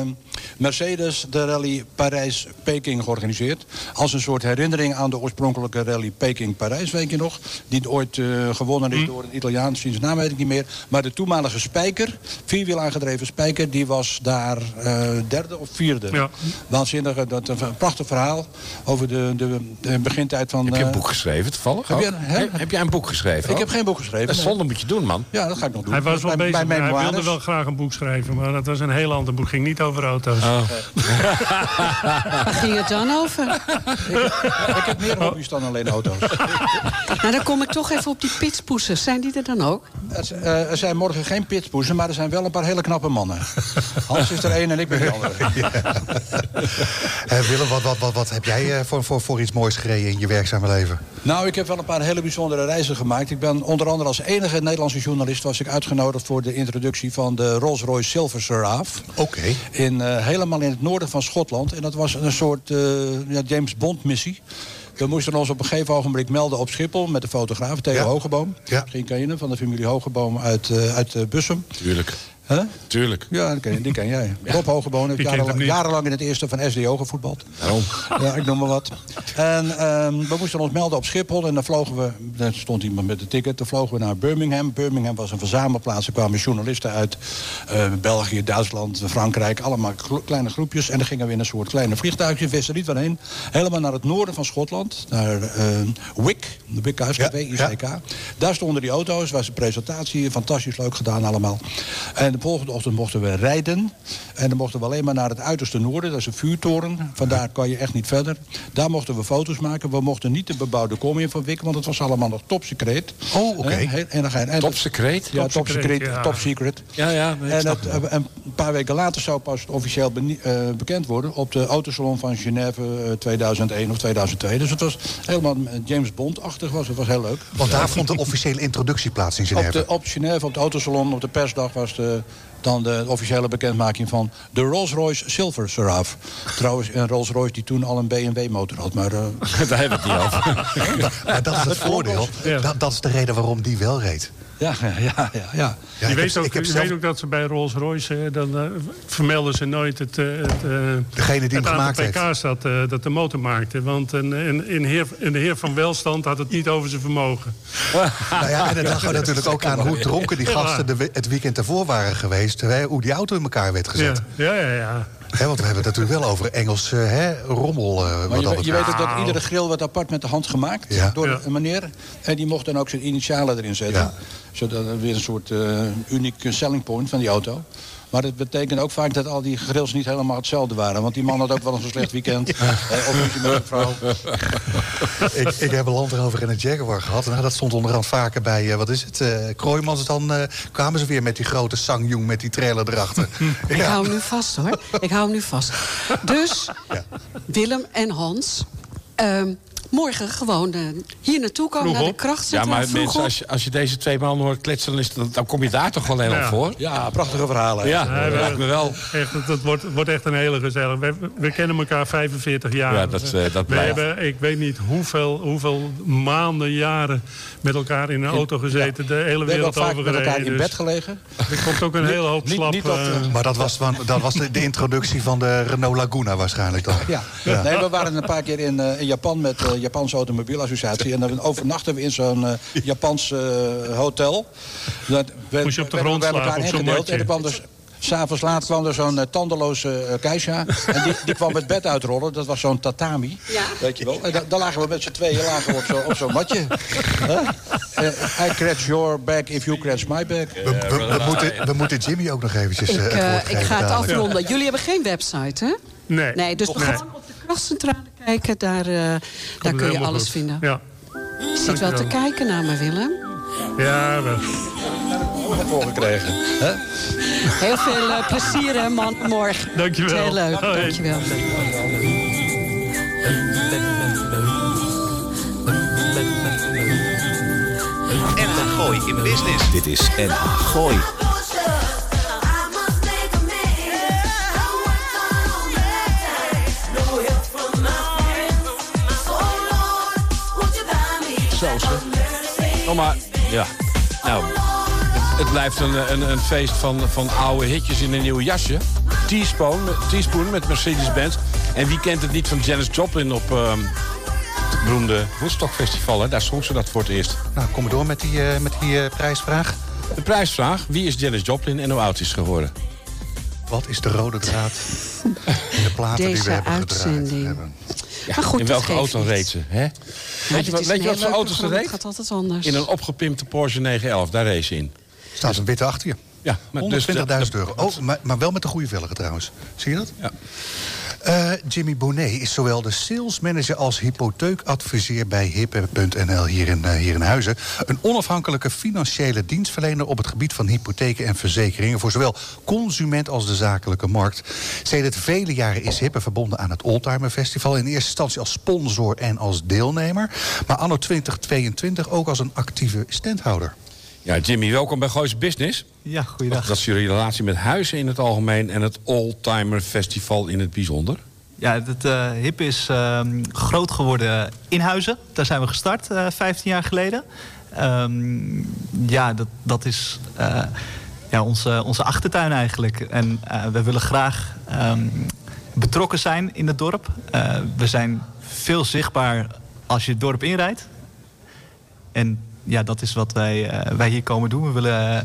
Speaker 10: Mercedes de rally Parijs-Peking georganiseerd. Als een soort herinnering aan de oorspronkelijke rally Peking-Parijs, weet je nog. Die ooit eh, gewonnen is door een Italiaan, zijn naam weet ik niet meer. Maar de toenmalige Spijker, vierwiel aangedreven Spijker, die was daar eh, derde of vierde.
Speaker 11: Ja.
Speaker 10: Waanzinnig, eh, dat, een prachtig verhaal over de, de, de begintijd van...
Speaker 6: Heb je een
Speaker 10: eh,
Speaker 6: boek geschreven, toevallig?
Speaker 10: heb
Speaker 6: ook?
Speaker 10: jij- hè?
Speaker 6: Oh, Heb- heb jij een boek geschreven?
Speaker 10: Ik
Speaker 6: ook?
Speaker 10: heb geen boek geschreven,
Speaker 6: Dat
Speaker 10: nee.
Speaker 6: zonde moet je doen, man.
Speaker 10: Ja, dat ga ik nog doen.
Speaker 11: Hij was wel
Speaker 10: Bij-
Speaker 11: bezig,
Speaker 10: bij
Speaker 11: maar hij wilde
Speaker 10: memoires.
Speaker 11: wel graag een boek schrijven, maar dat was een heel ander boek. Ging niet over auto's.
Speaker 6: Oh.
Speaker 5: Waar ging het dan over?
Speaker 10: Ik heb meer hobby's dan alleen auto's.
Speaker 5: Nou, dan kom ik toch even op die pitspoesers. Zijn die er dan ook?
Speaker 10: Er z- eh, er zijn morgen geen pitspoezen, maar er zijn wel een paar hele knappe mannen. Hans is er één en ik ben de andere.
Speaker 4: Hé, Eh, Willem, wat, wat, wat, wat heb jij eh, voor, voor, voor iets moois gereden in je werkzame leven?
Speaker 10: Nou, ik heb wel een paar hele bijzondere reizen gemaakt. Ik ben onder andere als enige Nederlandse journalist... was ik uitgenodigd voor de introductie van de Rolls-Royce Silver Seraf.
Speaker 4: Oké.
Speaker 10: In, eh, helemaal in het noorden van Schotland. En dat was een soort eh, ja, James Bond-missie. We moesten ons op een gegeven ogenblik melden op Schiphol... met de fotograaf Theo Hogeboom. Misschien ken je hem, van de familie Hogeboom uit, eh, uit eh, Bussum.
Speaker 6: Tuurlijk.
Speaker 10: Huh?
Speaker 6: Tuurlijk.
Speaker 10: Ja, die ken, die ken jij. Rob Hogeboom heeft
Speaker 6: Wie kent hem
Speaker 10: jarenlang,
Speaker 6: niet?
Speaker 10: jarenlang in het eerste van SDO gevoetbald.
Speaker 6: Daarom.
Speaker 10: Ja, ik noem maar wat. En ehm, we moesten ons melden op Schiphol. En dan vlogen we, daar stond iemand met een ticket, dan vlogen we naar Birmingham. Birmingham was een verzamelplaats. Er kwamen journalisten uit eh, België, Duitsland, Frankrijk. Allemaal gro- kleine groepjes. En dan gingen we in een soort kleine vliegtuigje, wist er niet waarheen. Helemaal naar het noorden van Schotland. Naar eh, Wick, de Wick ja, ICK. Daar stonden die auto's, was een presentatie. Fantastisch leuk gedaan allemaal. En de volgende ochtend mochten we rijden. En dan mochten we alleen maar naar het uiterste noorden. Dat is een vuurtoren. Vandaar kan je echt niet verder. Daar mochten we foto's maken. We mochten niet de bebouwde kom in van Wik, want het was allemaal nog topsecreet. Oh,
Speaker 6: oké. Topsecreet?
Speaker 10: Ja,
Speaker 6: Top secret,
Speaker 10: topsecreet,
Speaker 6: ja.
Speaker 10: top secret.
Speaker 6: Ja, ja, nee, ik
Speaker 10: en
Speaker 6: snap
Speaker 10: dat, eh, een paar weken later zou pas officieel benie- eh, bekend worden... op de autosalon van Genève eh, 2001 of 2002. Dus het was helemaal eh, James Bond-achtig. Was. Het was heel leuk.
Speaker 4: Want daar vond de officiële introductie plaats in
Speaker 10: Op
Speaker 4: Genève.
Speaker 10: de, op Genève, op de autosalon, op de persdag was de, dan de officiële bekendmaking van de Rolls-Royce Silver Seraf. Trouwens, een Rolls-Royce die toen al een BMW-motor had, maar... eh,
Speaker 6: Daar hebben we het niet over.
Speaker 4: Maar dat is het voordeel. Dat, dat is de reden waarom die wel reed.
Speaker 10: Ja, ja, ja. ja.
Speaker 11: je weet, ook, je weet ook dat ze bij Rolls Royce, eh, dan eh, vermelden ze nooit het, eh, het, eh,
Speaker 4: Degene die
Speaker 11: het
Speaker 4: hem gemaakt
Speaker 11: aantal pk's dat, eh, dat de motor maakte. Want een, een, een, heer, een heer van welstand had het niet over zijn vermogen.
Speaker 4: Nou ja, en dan dachten we natuurlijk ook aan hoe dronken die gasten de we- het weekend ervoor waren geweest. hè, Hoe die auto in elkaar werd gezet.
Speaker 11: Ja, ja, ja.
Speaker 4: Hè, want we hebben het natuurlijk wel over Engels eh, hè, rommel. eh,
Speaker 10: Maar
Speaker 4: wat
Speaker 10: je,
Speaker 4: dat
Speaker 10: weet- je weet
Speaker 4: betreft.
Speaker 10: ook dat iedere grill werd apart met de hand gemaakt
Speaker 4: Ja.
Speaker 10: door een meneer. En die mocht dan ook zijn initialen erin zetten. Zodat er weer een soort eh, uniek selling point van die auto. Maar dat betekent ook vaak dat al die grills niet helemaal hetzelfde waren. Want die man had ook wel eens een slecht weekend. Eh, of een met een vrouw.
Speaker 4: ik, ik heb een Land Rover en een Jaguar gehad. Nou, dat stond onderhand vaker bij, eh, wat is het, eh Kroijmans. Dan eh, kwamen ze weer met die grote Sangjong met die trailer erachter.
Speaker 5: Ik hou hem nu vast hoor. Ik hou hem nu vast. Dus Willem en Hans. ehm, morgen gewoon eh, hier naartoe komen, naar de krachtcentra.
Speaker 6: Ja, maar
Speaker 5: vroeg
Speaker 6: mensen,
Speaker 5: op.
Speaker 6: als je, als je deze twee mannen hoort kletsen, dan, is, dan, dan kom je daar toch alleen
Speaker 11: Ja.
Speaker 6: al voor?
Speaker 4: Nou,
Speaker 10: Ja, prachtige verhalen.
Speaker 6: Ja,
Speaker 11: Nee,
Speaker 6: dat
Speaker 11: we-
Speaker 6: lijkt me wel.
Speaker 11: Echt, dat- dat wordt, wordt echt een hele gezellig. We, we kennen elkaar 45 jaar.
Speaker 6: Ja, dat, eh, dat
Speaker 11: we
Speaker 6: blijft.
Speaker 11: hebben, ik weet niet hoeveel, hoeveel maanden, jaren met elkaar in een auto gezeten. de hele
Speaker 10: We hebben ook
Speaker 11: wereld
Speaker 10: vaak
Speaker 11: over
Speaker 10: met elkaar in
Speaker 11: gereden,
Speaker 10: bed gelegen.
Speaker 11: dus Er komt ook een hele hoop slap. eh,
Speaker 4: Maar dat was, van- dat was de, de introductie van de Renault Laguna waarschijnlijk dan.
Speaker 10: Ja. Nee, we waren een paar keer in, eh, in Japan met de Japanse Automobielassociatie. En dan overnachten we in zo'n eh, Japans eh, hotel. Dat we,
Speaker 11: Moest je op de
Speaker 10: we
Speaker 11: grond slapen,
Speaker 10: werden bij
Speaker 11: op
Speaker 10: elkaar
Speaker 11: zo'n
Speaker 10: ingedeeld.
Speaker 11: matje.
Speaker 10: En er kwam dus, s'avonds laat kwam er zo'n eh, tandeloze eh, geisha. En die, die kwam het bed uitrollen. Dat was zo'n tatami. Weet je wel. En da- daar lagen we met z'n tweeën lagen we op zo'n op zo'n matje. Huh? Eh, I scratch your back if you scratch my back.
Speaker 4: We, we- we moeten, we moeten Jimmy ook nog eventjes eh,
Speaker 5: ik,
Speaker 4: het
Speaker 5: eh,
Speaker 4: woord
Speaker 5: ik
Speaker 4: geven
Speaker 5: ga het
Speaker 4: dadelijk.
Speaker 5: afronden. Jullie hebben geen website, hè?
Speaker 11: Nee.
Speaker 5: dus
Speaker 11: Toch
Speaker 5: gewoon op de krachtcentrale kijken. Daar, eh, daar kun je
Speaker 11: helemaal
Speaker 5: alles
Speaker 11: goed.
Speaker 5: vinden.
Speaker 11: Ja.
Speaker 5: Je zit wel te kijken naar me, Willem.
Speaker 11: Ja, wel.
Speaker 10: Voorgekregen.
Speaker 5: Heel veel eh, plezier, hè, man, morgen.
Speaker 11: Dankjewel.
Speaker 5: Heel leuk,
Speaker 11: Hoi.
Speaker 5: dankjewel.
Speaker 1: NH Gooi in business. Dit is NH Gooi.
Speaker 6: Zo, ze. Oh, maar, ja. Nou, het- het blijft een, een, een feest van, van oude hitjes in een nieuw jasje. Teaspoon, met- teaspoon met Mercedes-Benz. En wie kent het niet van Janis Joplin op ehm, het beroemde Woodstock Festival? Hè? Daar zong ze dat voor het eerst.
Speaker 4: Nou, kom maar door met die, eh, met die eh, prijsvraag.
Speaker 6: De prijsvraag, wie is Janis Joplin en hoe oud is ze geworden?
Speaker 4: Wat is de rode draad in de platen die we
Speaker 5: Deze
Speaker 4: hebben gedraaid?
Speaker 5: uitzending. maar goed,
Speaker 6: in
Speaker 5: dat
Speaker 6: welke
Speaker 5: geeft
Speaker 6: auto
Speaker 5: niet.
Speaker 6: reed ze? Hè?
Speaker 5: Maar
Speaker 6: Weet je
Speaker 5: dit
Speaker 6: wat,
Speaker 5: is
Speaker 6: weet
Speaker 5: een
Speaker 6: je wat
Speaker 5: heel
Speaker 6: voor
Speaker 5: leuk
Speaker 6: auto's ze
Speaker 5: programma,
Speaker 6: reed?
Speaker 5: Het gaat altijd anders.
Speaker 6: In een opgepimpte Porsche 911, daar reed ze in.
Speaker 4: Staat een witte achter je.
Speaker 6: Ja, maar dus de-
Speaker 4: 120.000 euro. Oh, maar, maar wel met de goede velgen trouwens. Zie je dat?
Speaker 6: Ja.
Speaker 4: Eh, Jimmy Bonnet is zowel de salesmanager als hypotheekadviseur bij hippe.nl hier in, eh, hier in Huizen. Een onafhankelijke financiële dienstverlener op het gebied van hypotheken en verzekeringen voor zowel consument als de zakelijke markt. Sedert vele jaren is hippe verbonden aan het Oldtimer Festival. In eerste instantie als sponsor en als deelnemer. Maar anno 2022 ook als een actieve standhouder.
Speaker 6: Ja, Jimmy, welkom bij Goois Business.
Speaker 12: Ja, goeiedag.
Speaker 6: Dat is jullie relatie met huizen in het algemeen en het Oldtimer Festival in het bijzonder.
Speaker 12: Ja, het eh, HIP is ehm, groot geworden in Huizen. Daar zijn we gestart eh 15 jaar geleden. Ehm, ja, dat, dat is eh, ja, onze, onze achtertuin eigenlijk. En eh, we willen graag ehm, betrokken zijn in het dorp. Eh, we zijn veel zichtbaar als je het dorp inrijdt. En ja, dat is wat wij, eh, wij hier komen doen. We willen eh,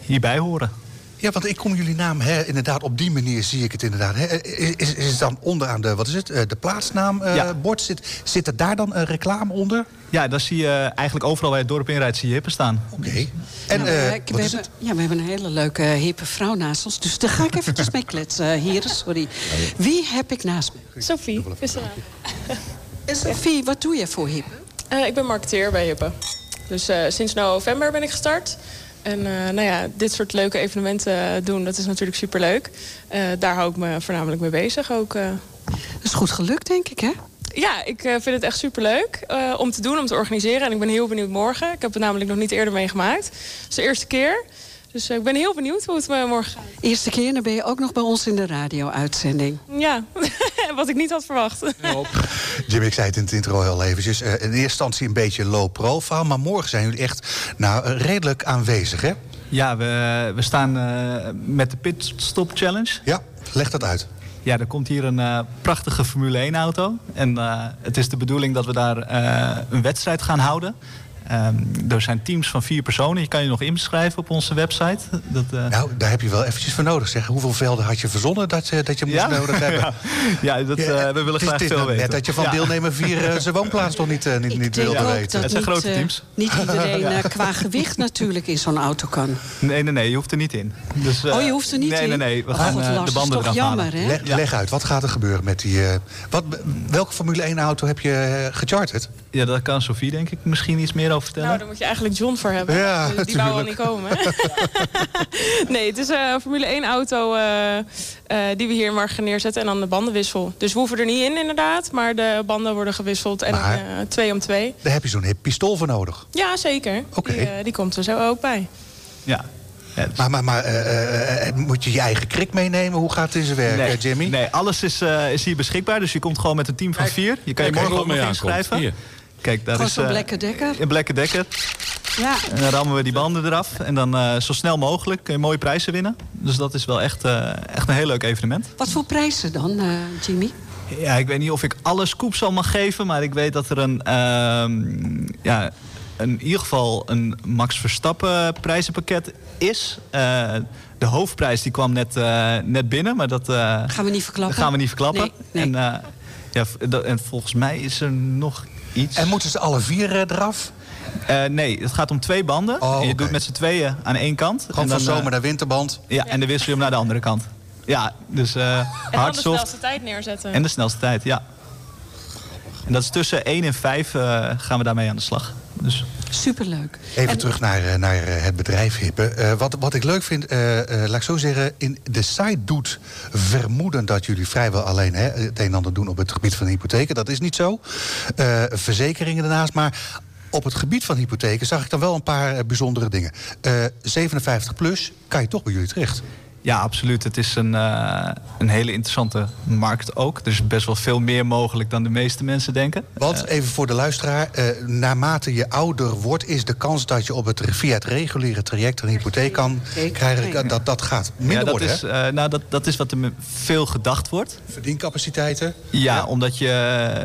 Speaker 12: hierbij horen.
Speaker 4: Ja, want ik kom jullie naam, hè, inderdaad, op die manier zie ik het inderdaad. Hè. Is, is- is het dan onderaan de, wat is het, eh, de plaatsnaam eh, bord? Zit, zit er daar dan eh, reclame onder?
Speaker 12: Ja, daar zie je eigenlijk overal waar je het dorp inrijdt, zie je hippen staan.
Speaker 4: Oké.
Speaker 5: Nou,
Speaker 4: En
Speaker 5: Ja,
Speaker 4: eh,
Speaker 5: we,
Speaker 4: wat
Speaker 5: we
Speaker 4: is
Speaker 5: hebben,
Speaker 4: het?
Speaker 5: ja, we hebben een hele leuke eh, hippe vrouw naast ons. Dus daar ga ik eventjes mee kletsen, eh, heren. Sorry. Wie heb ik naast me?
Speaker 13: Sophie, Vissera.
Speaker 5: En Sophie, wat doe je voor hippe?
Speaker 13: Eh ik ben marketeer bij Hippe. Dus eh, sinds november ben ik gestart. En eh, nou ja, dit soort leuke evenementen doen, dat is natuurlijk superleuk. Eh daar hou ik me voornamelijk mee bezig ook. eh.
Speaker 5: Dat is goed gelukt, denk ik, hè?
Speaker 13: Ja, ik eh, vind het echt superleuk eh om te doen, om te organiseren. En ik ben heel benieuwd morgen. Ik heb het namelijk nog niet eerder meegemaakt. Het is de eerste keer. Dus eh, ik ben heel benieuwd hoe het me morgen gaat.
Speaker 5: Eerste keer, dan ben je ook nog bij ons in de radio-uitzending.
Speaker 13: Ja, wat ik niet had verwacht.
Speaker 4: Jim, ik zei het in het intro heel eventjes. eh, in eerste instantie een beetje low profile. Maar morgen zijn jullie echt nou, eh, redelijk aanwezig, hè?
Speaker 12: Ja, we, we staan eh, met de Pitstop Challenge.
Speaker 4: Ja, leg dat uit.
Speaker 12: Ja, er komt hier een eh, prachtige Formule 1-auto. En eh, het is de bedoeling dat we daar eh, een wedstrijd gaan houden. Ehm, er zijn teams van vier personen. Je kan je nog inschrijven op onze website. Dat, eh,
Speaker 4: Nou, daar heb je wel eventjes voor nodig. Zeg. Hoeveel velden had je verzonnen dat, eh, dat je moest
Speaker 12: Ja?
Speaker 4: nodig hebben?
Speaker 12: Ja. Ja, dat, eh, we willen
Speaker 4: het is
Speaker 12: graag
Speaker 4: dit
Speaker 12: veel
Speaker 4: nou net
Speaker 12: weten.
Speaker 4: dat je van
Speaker 12: Ja.
Speaker 4: deelnemer 4 eh, zijn woonplaats nog niet, eh, niet, niet
Speaker 5: Ik
Speaker 4: wilde
Speaker 5: denk ook
Speaker 4: weten.
Speaker 5: dat niet, eh, niet iedereen eh, qua gewicht natuurlijk in zo'n auto kan.
Speaker 12: Nee, nee, nee, je hoeft er niet in. Dus, eh,
Speaker 5: Oh, je hoeft er niet
Speaker 12: nee,
Speaker 5: in?
Speaker 12: Nee, nee, we
Speaker 5: Oh,
Speaker 12: gaan
Speaker 5: God, Lars,
Speaker 12: eh,
Speaker 5: dat
Speaker 12: de
Speaker 5: is
Speaker 12: banden
Speaker 5: toch
Speaker 12: eraf halen.
Speaker 5: jammer, hè?
Speaker 4: Leg, leg uit, wat gaat er gebeuren met die... eh, wat, welke Formule 1-auto heb je eh, gecharterd?
Speaker 12: Ja, daar kan Sofie denk ik misschien iets meer over vertellen.
Speaker 13: Nou, daar moet je eigenlijk John voor hebben.
Speaker 12: Ja,
Speaker 13: die die wou al niet
Speaker 12: tuurlijk.
Speaker 13: komen. nee, het is eh, een Formule 1 auto eh, eh, die we hier in Margen neerzetten. En dan de bandenwissel. Dus we hoeven er niet in inderdaad. Maar de banden worden gewisseld. En
Speaker 4: Maar-
Speaker 13: eh, twee om twee.
Speaker 4: Daar heb je zo'n hip pistool voor nodig.
Speaker 13: Ja, zeker. Die, eh, die komt er zo ook bij.
Speaker 12: Ja. dus-
Speaker 4: Maar, maar, maar eh, eh, moet je je eigen krik meenemen? Hoe gaat het in zijn werk, eh, Jimmy?
Speaker 12: Nee, alles is, eh, is hier beschikbaar. Dus je komt gewoon met een team van vier. Je kan je
Speaker 4: kijk,
Speaker 12: morgen
Speaker 4: kijk,
Speaker 12: ook nog
Speaker 4: mee aankomt.
Speaker 12: inschrijven.
Speaker 4: Hier.
Speaker 12: Kijk, daar
Speaker 5: Gewoon
Speaker 12: is...
Speaker 5: zo'n
Speaker 12: eh,
Speaker 5: blekke dekker.
Speaker 12: Een blekke dekker.
Speaker 5: Ja.
Speaker 12: En dan rammen we die banden eraf. En dan eh, zo snel mogelijk kun je mooie prijzen winnen. Dus dat is wel echt, eh, echt een heel leuk evenement.
Speaker 5: Wat voor prijzen dan, eh, Jimmy?
Speaker 12: Ja, ik weet niet of ik alle scoops al mag geven, maar ik weet dat er een, ehm, ja, een- in ieder geval een Max Verstappen prijzenpakket is. Eh, de hoofdprijs die kwam net, eh, net binnen, maar dat, eh,
Speaker 5: Gaan we niet verklappen?
Speaker 12: gaan we niet verklappen.
Speaker 5: Nee, nee.
Speaker 12: En, eh, ja, v- dat- en volgens mij is er nog iets. En
Speaker 4: moeten ze alle vier eh, eraf? Oh,
Speaker 12: nee, het gaat om twee banden. En je doet met z'n tweeën aan één kant. eh,
Speaker 4: Gewoon van zomer naar winterband.
Speaker 12: Ja, en dan wissel je hem naar de andere kant. Ja, dus eh
Speaker 13: En dan
Speaker 12: hard,
Speaker 13: de
Speaker 12: soft.
Speaker 13: snelste tijd neerzetten.
Speaker 12: En de snelste tijd, ja. En dat is tussen 1 en 5 eh, gaan we daarmee aan de slag. Dus.
Speaker 5: Superleuk.
Speaker 4: Even terug naar, eh, naar eh, het bedrijf Hippe. Eh, wat, wat ik leuk vind, eh, eh, laat ik zo zeggen, in de site doet vermoeden dat jullie vrijwel alleen hè, het een en ander doen op het gebied van hypotheken. Dat is niet zo. Eh, verzekeringen daarnaast, maar op het gebied van hypotheken zag ik dan wel een paar eh, bijzondere dingen. Eh, 57 plus kan je toch bij jullie terecht.
Speaker 12: Ja, absoluut. Het is een, eh, een hele interessante markt ook. Er is best wel veel meer mogelijk dan de meeste mensen denken.
Speaker 4: Want even voor de luisteraar, eh, naarmate je ouder wordt, is de kans dat je op het, via het reguliere traject een hypotheek kan krijgen, eh, dat, dat gaat minder
Speaker 12: ja, dat
Speaker 4: worden.
Speaker 12: is,
Speaker 4: hè?
Speaker 12: eh, nou, dat, dat is wat er me- veel gedacht wordt.
Speaker 4: Verdiencapaciteiten.
Speaker 12: Ja, omdat je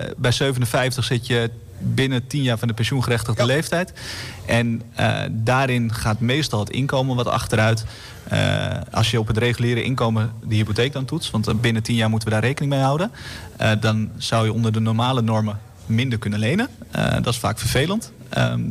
Speaker 12: eh, bij 57 zit je binnen 10 jaar van de pensioengerechtigde leeftijd. En eh, daarin gaat meestal het inkomen wat achteruit. Eh, als je op het reguliere inkomen de hypotheek dan toetst, want eh, binnen 10 jaar moeten we daar rekening mee houden, eh, dan zou je onder de normale normen minder kunnen lenen. Eh, dat is vaak vervelend. Ehm,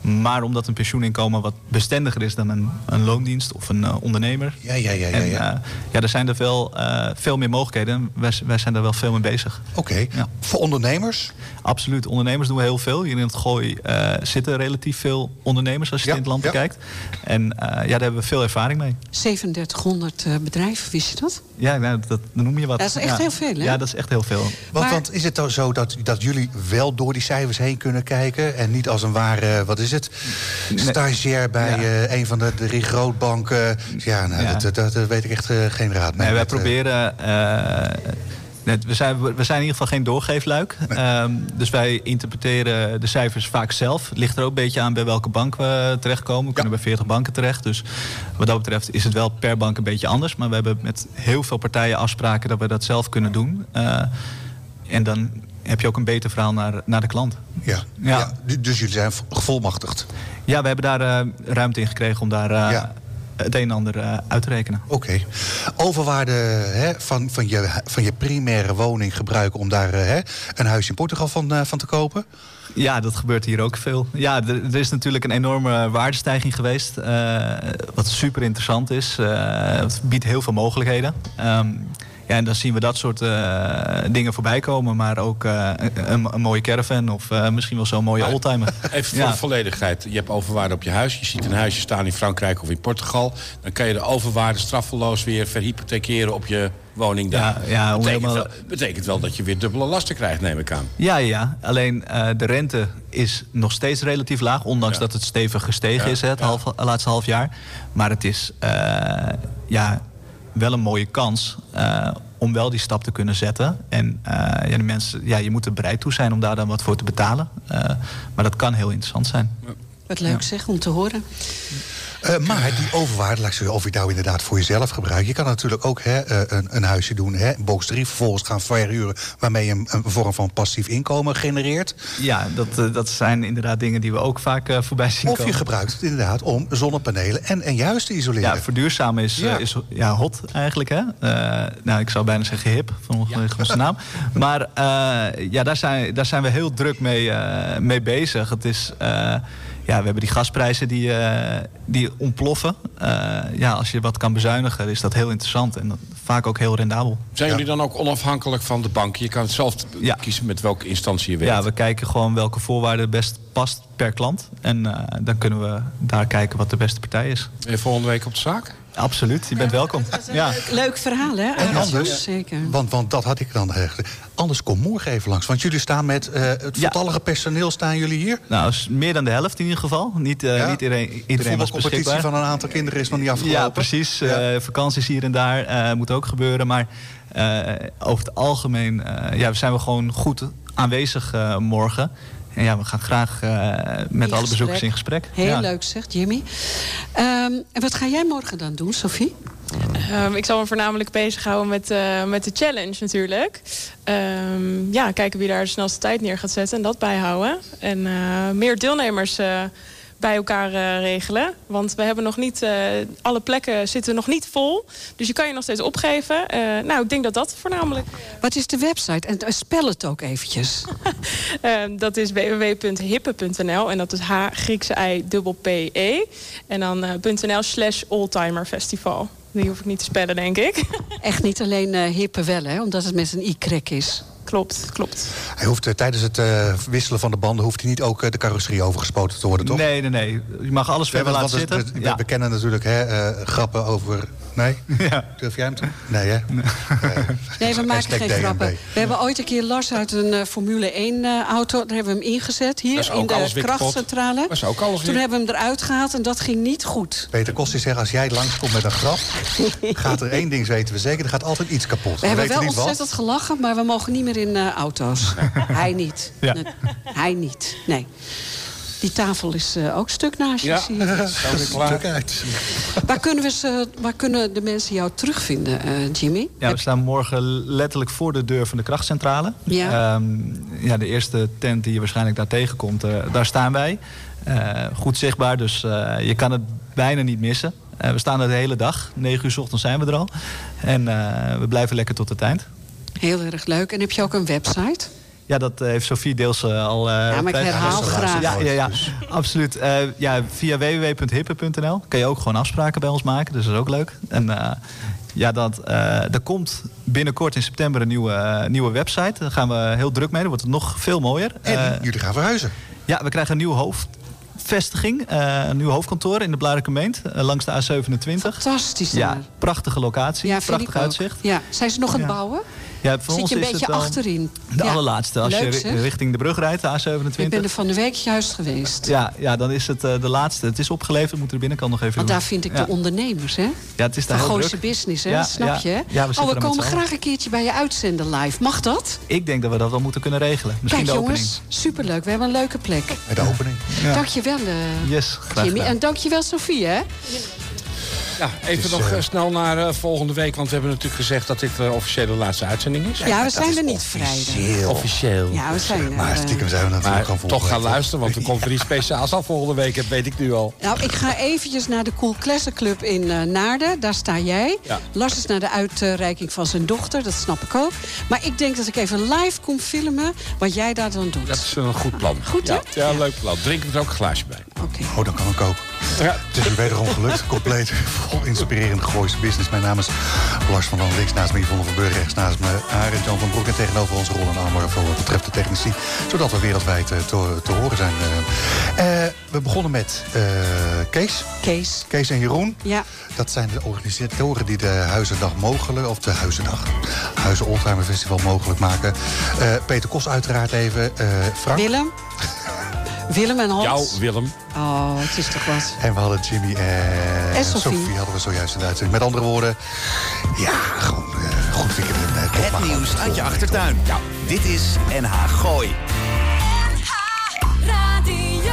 Speaker 12: maar omdat een pensioeninkomen wat bestendiger is dan een, een loondienst of een eh, ondernemer.
Speaker 4: Ja, ja, ja, ja,
Speaker 12: En,
Speaker 4: ja.
Speaker 12: eh, ja, er zijn er wel eh, veel meer mogelijkheden. En Wij, wij zijn er wel veel mee bezig.
Speaker 4: Oké. Voor ondernemers?
Speaker 12: Absoluut. Ondernemers doen we heel veel. Hier in het Gooi eh, zitten relatief veel ondernemers als je in het land bekijkt. En eh, ja, daar hebben we veel ervaring mee.
Speaker 5: 3700 eh, bedrijven, wist je dat?
Speaker 12: Ja, nou, dat, dan noem je wat.
Speaker 5: Dat is echt
Speaker 12: Ja.
Speaker 5: heel veel, hè?
Speaker 12: Ja, dat is echt heel veel.
Speaker 4: Want, want is het dan zo dat, dat jullie wel door die cijfers heen kunnen kijken... en niet als een ware, eh, wat is het, stagiair bij eh, een van de drie grootbanken? Ja, nou,
Speaker 12: Ja.
Speaker 4: Dat, dat, dat weet ik echt eh, geen raad mee.
Speaker 12: Nee, wij
Speaker 4: Dat, eh,
Speaker 12: proberen. eh, net- we, zijn, we zijn in ieder geval geen doorgeefluik. Ehm, dus wij interpreteren de cijfers vaak zelf. Het ligt er ook een beetje aan bij welke bank we terechtkomen. We kunnen bij 40 banken terecht. Dus wat dat betreft is het wel per bank een beetje anders. Maar we hebben met heel veel partijen afspraken dat we dat zelf kunnen doen. Eh, en dan heb je ook een beter verhaal naar, naar de klant.
Speaker 4: Ja.
Speaker 12: Ja.
Speaker 4: du- dus jullie zijn gevolmachtigd?
Speaker 12: Ja, we hebben daar eh, ruimte in gekregen om daar eh, het een en ander eh, uit te rekenen.
Speaker 4: Oké. Overwaarde hè, van, van, je, van je primaire woning gebruiken om daar eh, hè, een huis in Portugal van, eh, van te kopen?
Speaker 12: Ja, dat gebeurt hier ook veel. Ja, er, er is natuurlijk een enorme waardestijging geweest. eh, wat super interessant is. Eh, het biedt heel veel mogelijkheden. Ehm, ja, en dan zien we dat soort eh, dingen voorbij komen. Maar ook eh, een, een mooie caravan of eh, misschien wel zo'n mooie oldtimer.
Speaker 6: Even voor
Speaker 12: Ja.
Speaker 6: de volledigheid. Je hebt overwaarde op je huis. Je ziet een huisje staan in Frankrijk of in Portugal. Dan kan je de overwaarde straffeloos weer verhypothekeren op je woning daar.
Speaker 12: Ja, ja, om
Speaker 6: betekent,
Speaker 12: helemaal-
Speaker 6: wel, betekent wel dat je weer dubbele lasten krijgt, neem ik aan.
Speaker 12: Ja, ja. Alleen eh, de rente is nog steeds relatief laag. Ondanks dat het stevig gestegen
Speaker 6: Ja,
Speaker 12: is hè, het
Speaker 6: ja.
Speaker 12: half, laatste half jaar. Maar het is eh, ja, wel een mooie kans eh, om wel die stap te kunnen zetten. En eh, ja, die mensen, ja, je moet er bereid toe zijn om daar dan wat voor te betalen. Eh, maar dat kan heel interessant zijn.
Speaker 5: Wat leuk zeg om te horen.
Speaker 4: Eh, maar die overwaarde, laat ik zeggen, of je het nou inderdaad voor jezelf gebruikt. Je kan natuurlijk ook hè, eh, een, een huisje doen, hè, box 3, vervolgens gaan verhuren... waarmee je een, een vorm van passief inkomen genereert.
Speaker 12: Ja, dat, eh, dat zijn inderdaad dingen die we ook vaak eh, voorbij zien
Speaker 4: Of
Speaker 12: komen.
Speaker 4: je gebruikt het inderdaad om zonnepanelen en, en juist te isoleren.
Speaker 12: Ja, verduurzamen is, eh,
Speaker 4: Ja.
Speaker 12: is ja, hot eigenlijk. Hè? Eh, nou, ik zou bijna zeggen hip, vanwege zijn naam. Maar eh, ja, daar, zijn, daar zijn we heel druk mee, eh, mee bezig. Het is, eh, ja, we hebben die gasprijzen die, eh, die ontploffen. Eh, ja, als je wat kan bezuinigen, is dat heel interessant. En dat- vaak ook heel rendabel.
Speaker 6: Zijn jullie dan ook onafhankelijk van de bank? Je kan het zelf kiezen met welke instantie je werkt.
Speaker 12: Ja, we kijken gewoon welke voorwaarden het best past per klant. En eh, dan kunnen we daar kijken wat de beste partij is.
Speaker 6: Ben je volgende week op de zaak?
Speaker 12: Absoluut, je bent welkom. Ja.
Speaker 5: Leuk verhaal, hè?
Speaker 4: En
Speaker 5: Arendt?
Speaker 4: anders,
Speaker 5: Zeker.
Speaker 4: want, want dat had ik dan eigenlijk. Anders kom morgen even langs, want jullie staan met eh, het voltallige personeel staan jullie hier.
Speaker 12: Nou, is meer dan de helft in ieder geval. Niet, eh, niet iedereen,
Speaker 4: de
Speaker 12: iedereen was
Speaker 4: voetbalcompetitie
Speaker 12: beschikbaar.
Speaker 4: van een aantal kinderen is nog niet afgelopen.
Speaker 12: Ja, precies. Eh, vakanties hier en daar eh, moet ook gebeuren. Maar eh, over het algemeen eh, ja, zijn we gewoon goed aanwezig eh, morgen. En ja, we gaan graag eh, met
Speaker 5: In
Speaker 12: alle bezoekers
Speaker 5: gesprek.
Speaker 12: in gesprek.
Speaker 5: Heel
Speaker 12: ja.
Speaker 5: leuk zeg, Jimmy. Ehm, en wat ga jij morgen dan doen, Sophie?
Speaker 13: Ehm, ik zal me voornamelijk bezighouden met, eh, met de challenge natuurlijk. Ehm, ja, kijken wie daar de snelste tijd neer gaat zetten en dat bijhouden. En eh, meer deelnemers eh, bij elkaar eh, regelen. Want we hebben nog niet, eh, alle plekken zitten nog niet vol. Dus je kan je nog steeds opgeven. Eh, nou, ik denk dat dat voornamelijk...
Speaker 5: Wat is de website? En eh, spel het ook eventjes.
Speaker 13: Ehm, dat is www.hippe.nl en dat is H Griekse I dubbel P E. En dan eh, .nl slash Oldtimer Festival. Die hoef ik niet te spellen, denk ik.
Speaker 5: Echt niet alleen eh hippe wel, hè? Omdat het met een i-krek is.
Speaker 13: Klopt, klopt.
Speaker 4: Hij hoeft eh, tijdens het eh, wisselen van de banden hoeft hij niet ook eh, de carrosserie overgespoten te worden, toch?
Speaker 12: Nee, nee, nee. Je mag alles verder
Speaker 4: want-
Speaker 12: laten
Speaker 4: want het-
Speaker 12: zitten.
Speaker 4: We, we kennen natuurlijk hè, eh, grappen over. Nee? Durf jij hem te? Nee, hè? Eh,
Speaker 5: Nee, we maken
Speaker 4: Hashtag
Speaker 5: geen
Speaker 4: DNB.
Speaker 5: grappen. We hebben ooit een keer Lars uit een eh, Formule 1-auto... daar hebben we hem ingezet,
Speaker 4: Dat
Speaker 5: hier
Speaker 4: is
Speaker 5: in
Speaker 4: ook
Speaker 5: de
Speaker 4: alles weer kapot.
Speaker 5: krachtcentrale.
Speaker 4: Dat is ook alles
Speaker 5: Toen
Speaker 4: weer-
Speaker 5: hebben we hem eruit gehaald en dat ging niet goed.
Speaker 4: Peter Kosti zegt: als jij langskomt met een grap, gaat er één ding weten we zeker. Er gaat altijd iets kapot.
Speaker 5: We hebben
Speaker 4: weten
Speaker 5: wel
Speaker 4: niet wat.
Speaker 5: ontzettend gelachen, maar we mogen niet meer in eh, auto's. Hij niet.
Speaker 4: Ja.
Speaker 5: Nee, Hij niet, nee. Die tafel is eh, ook stuk naast je, zie je.
Speaker 4: uit.
Speaker 5: Waar kunnen, we ze, waar kunnen de mensen jou terugvinden, eh, Jimmy?
Speaker 12: Ja, we staan morgen letterlijk voor de deur van de krachtcentrale.
Speaker 5: Ja.
Speaker 12: Ehm, ja, de eerste tent die je waarschijnlijk daar tegenkomt, eh, daar staan wij. Eh, goed zichtbaar, dus eh, je kan het bijna niet missen. Eh, we staan er de hele dag. 9 uur 's ochtends zijn we er al. En eh, we blijven lekker tot het eind.
Speaker 5: Heel erg leuk. En heb je ook een website?
Speaker 12: Ja, dat eh, heeft Sofie deels eh, al... eh,
Speaker 5: Ja, maar ik
Speaker 12: prijs-
Speaker 5: herhaal graag. Dus-
Speaker 12: Ja, ja, ja absoluut. Eh, ja, via www.hippe.nl kan je ook gewoon afspraken bij ons maken. Dus dat is ook leuk. En eh, ja, dat, eh, er komt binnenkort in september een nieuwe, eh, nieuwe website. Daar gaan we heel druk mee. Dan wordt het nog veel mooier. Eh,
Speaker 4: En jullie gaan verhuizen.
Speaker 12: Ja, we krijgen een nieuw hoofdvestiging. eh, een nieuw hoofdkantoor in de Blarenkemeent. eh, langs de A27.
Speaker 5: Fantastisch
Speaker 12: Ja,
Speaker 5: daar.
Speaker 12: prachtige locatie.
Speaker 5: Ja, vind ik
Speaker 12: prachtig
Speaker 5: ook.
Speaker 12: uitzicht.
Speaker 5: Ja. Zijn ze nog aan het
Speaker 12: Ja.
Speaker 5: bouwen?
Speaker 12: Ja, voor
Speaker 5: Zit
Speaker 12: ons
Speaker 5: je een
Speaker 12: is het
Speaker 5: beetje
Speaker 12: wel
Speaker 5: achterin?
Speaker 12: De
Speaker 5: Ja.
Speaker 12: allerlaatste. Als
Speaker 5: Leuk,
Speaker 12: je
Speaker 5: zeg.
Speaker 12: ri- richting de brug rijdt, de A27.
Speaker 5: Ik ben er van de week juist geweest.
Speaker 12: Ja, ja, dan is het eh, de laatste. Het is opgeleverd, we moeten de binnenkant nog even
Speaker 5: Want
Speaker 12: doen.
Speaker 5: daar vind ik
Speaker 12: ja.
Speaker 5: de ondernemers, hè?
Speaker 12: Ja, het is daar
Speaker 5: Van
Speaker 12: heel
Speaker 5: Gooise
Speaker 12: druk.
Speaker 5: business, hè?
Speaker 12: Ja,
Speaker 5: dat snap
Speaker 12: ja.
Speaker 5: je, hè?
Speaker 12: Ja, we zitten
Speaker 5: oh,
Speaker 12: er
Speaker 5: we
Speaker 12: met
Speaker 5: komen
Speaker 12: z'n allen.
Speaker 5: graag een keertje bij je uitzenden live. Mag dat?
Speaker 12: Ik denk dat we dat wel moeten kunnen regelen. Misschien
Speaker 5: Kijk,
Speaker 12: de opening.
Speaker 5: jongens, superleuk. We hebben een leuke plek.
Speaker 4: Bij de opening.
Speaker 12: Ja.
Speaker 5: Dankjewel, eh
Speaker 12: Yes, graag
Speaker 5: Jimmy.
Speaker 12: gedaan.
Speaker 5: En dankjewel, Sofie, hè?
Speaker 6: Ja, even
Speaker 5: is,
Speaker 6: nog
Speaker 5: eh,
Speaker 6: eh, snel naar eh, volgende week. Want we hebben natuurlijk gezegd dat dit de officiële laatste uitzending is.
Speaker 5: Ja, we zijn er niet vrijdag.
Speaker 6: Officieel.
Speaker 5: Ja, we zijn er,
Speaker 6: Maar
Speaker 5: eh,
Speaker 6: stiekem
Speaker 4: zijn we natuurlijk
Speaker 6: maar
Speaker 4: gewoon volgende
Speaker 6: Toch gaan
Speaker 4: week, hoor.
Speaker 6: luisteren, want er komt weer iets speciaals af volgende week. Dat weet ik nu al.
Speaker 5: Nou, ik ga eventjes naar de Cool Classic Club in eh, Naarden. Daar sta jij.
Speaker 6: Ja.
Speaker 5: Lars is naar de uitreiking van zijn dochter. Dat snap ik ook. Maar ik denk dat ik even live kom filmen wat jij daar dan doet.
Speaker 6: Dat is een goed plan.
Speaker 5: Goed, hè?
Speaker 6: ja, ja, leuk plan. Drink er ook een glaasje bij.
Speaker 4: Oh, dat kan ik ook. Het is u wederom gelukt. Compleet vol inspirerend Gooise business. Mijn naam is Lars van Dan. Links naast me Yvonne van Burg. Rechts naast me Arend Jan van Broek. En tegenover ons Roland Amor voor wat betreft de technici. Zodat we wereldwijd eh, te, te horen zijn. Eh, eh, we begonnen met eh, Kees.
Speaker 5: Kees.
Speaker 4: Kees en Jeroen.
Speaker 5: Ja.
Speaker 4: Dat zijn de organisatoren die de Huizendag mogelijk... of de Huizendag, Huizen Oldtimer Festival mogelijk maken. Eh, Peter Kos uiteraard even. eh, Frank.
Speaker 5: Willem. Willem en Hans.
Speaker 6: Willem.
Speaker 5: Oh, het is toch wat.
Speaker 4: En we hadden Jimmy en,
Speaker 5: En Sophie.
Speaker 4: hadden we zojuist in de uitzending. Met andere woorden, ja, gewoon eh, Goed weekend.
Speaker 1: Het nieuws uit je achtertuin. Dit is NH Gooi.
Speaker 14: Radio.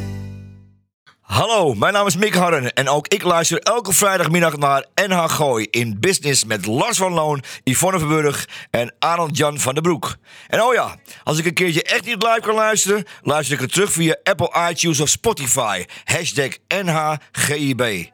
Speaker 15: Hallo, mijn naam is Mick Harren en ook ik luister elke vrijdagmiddag naar NH Gooi in Business met Lars van Loon, Yvonne Verburg en Arnold Jan van den Broek. En oh ja, als ik een keertje echt niet live kan luisteren, luister ik het terug via Apple iTunes of Spotify. Hashtag NHGIB.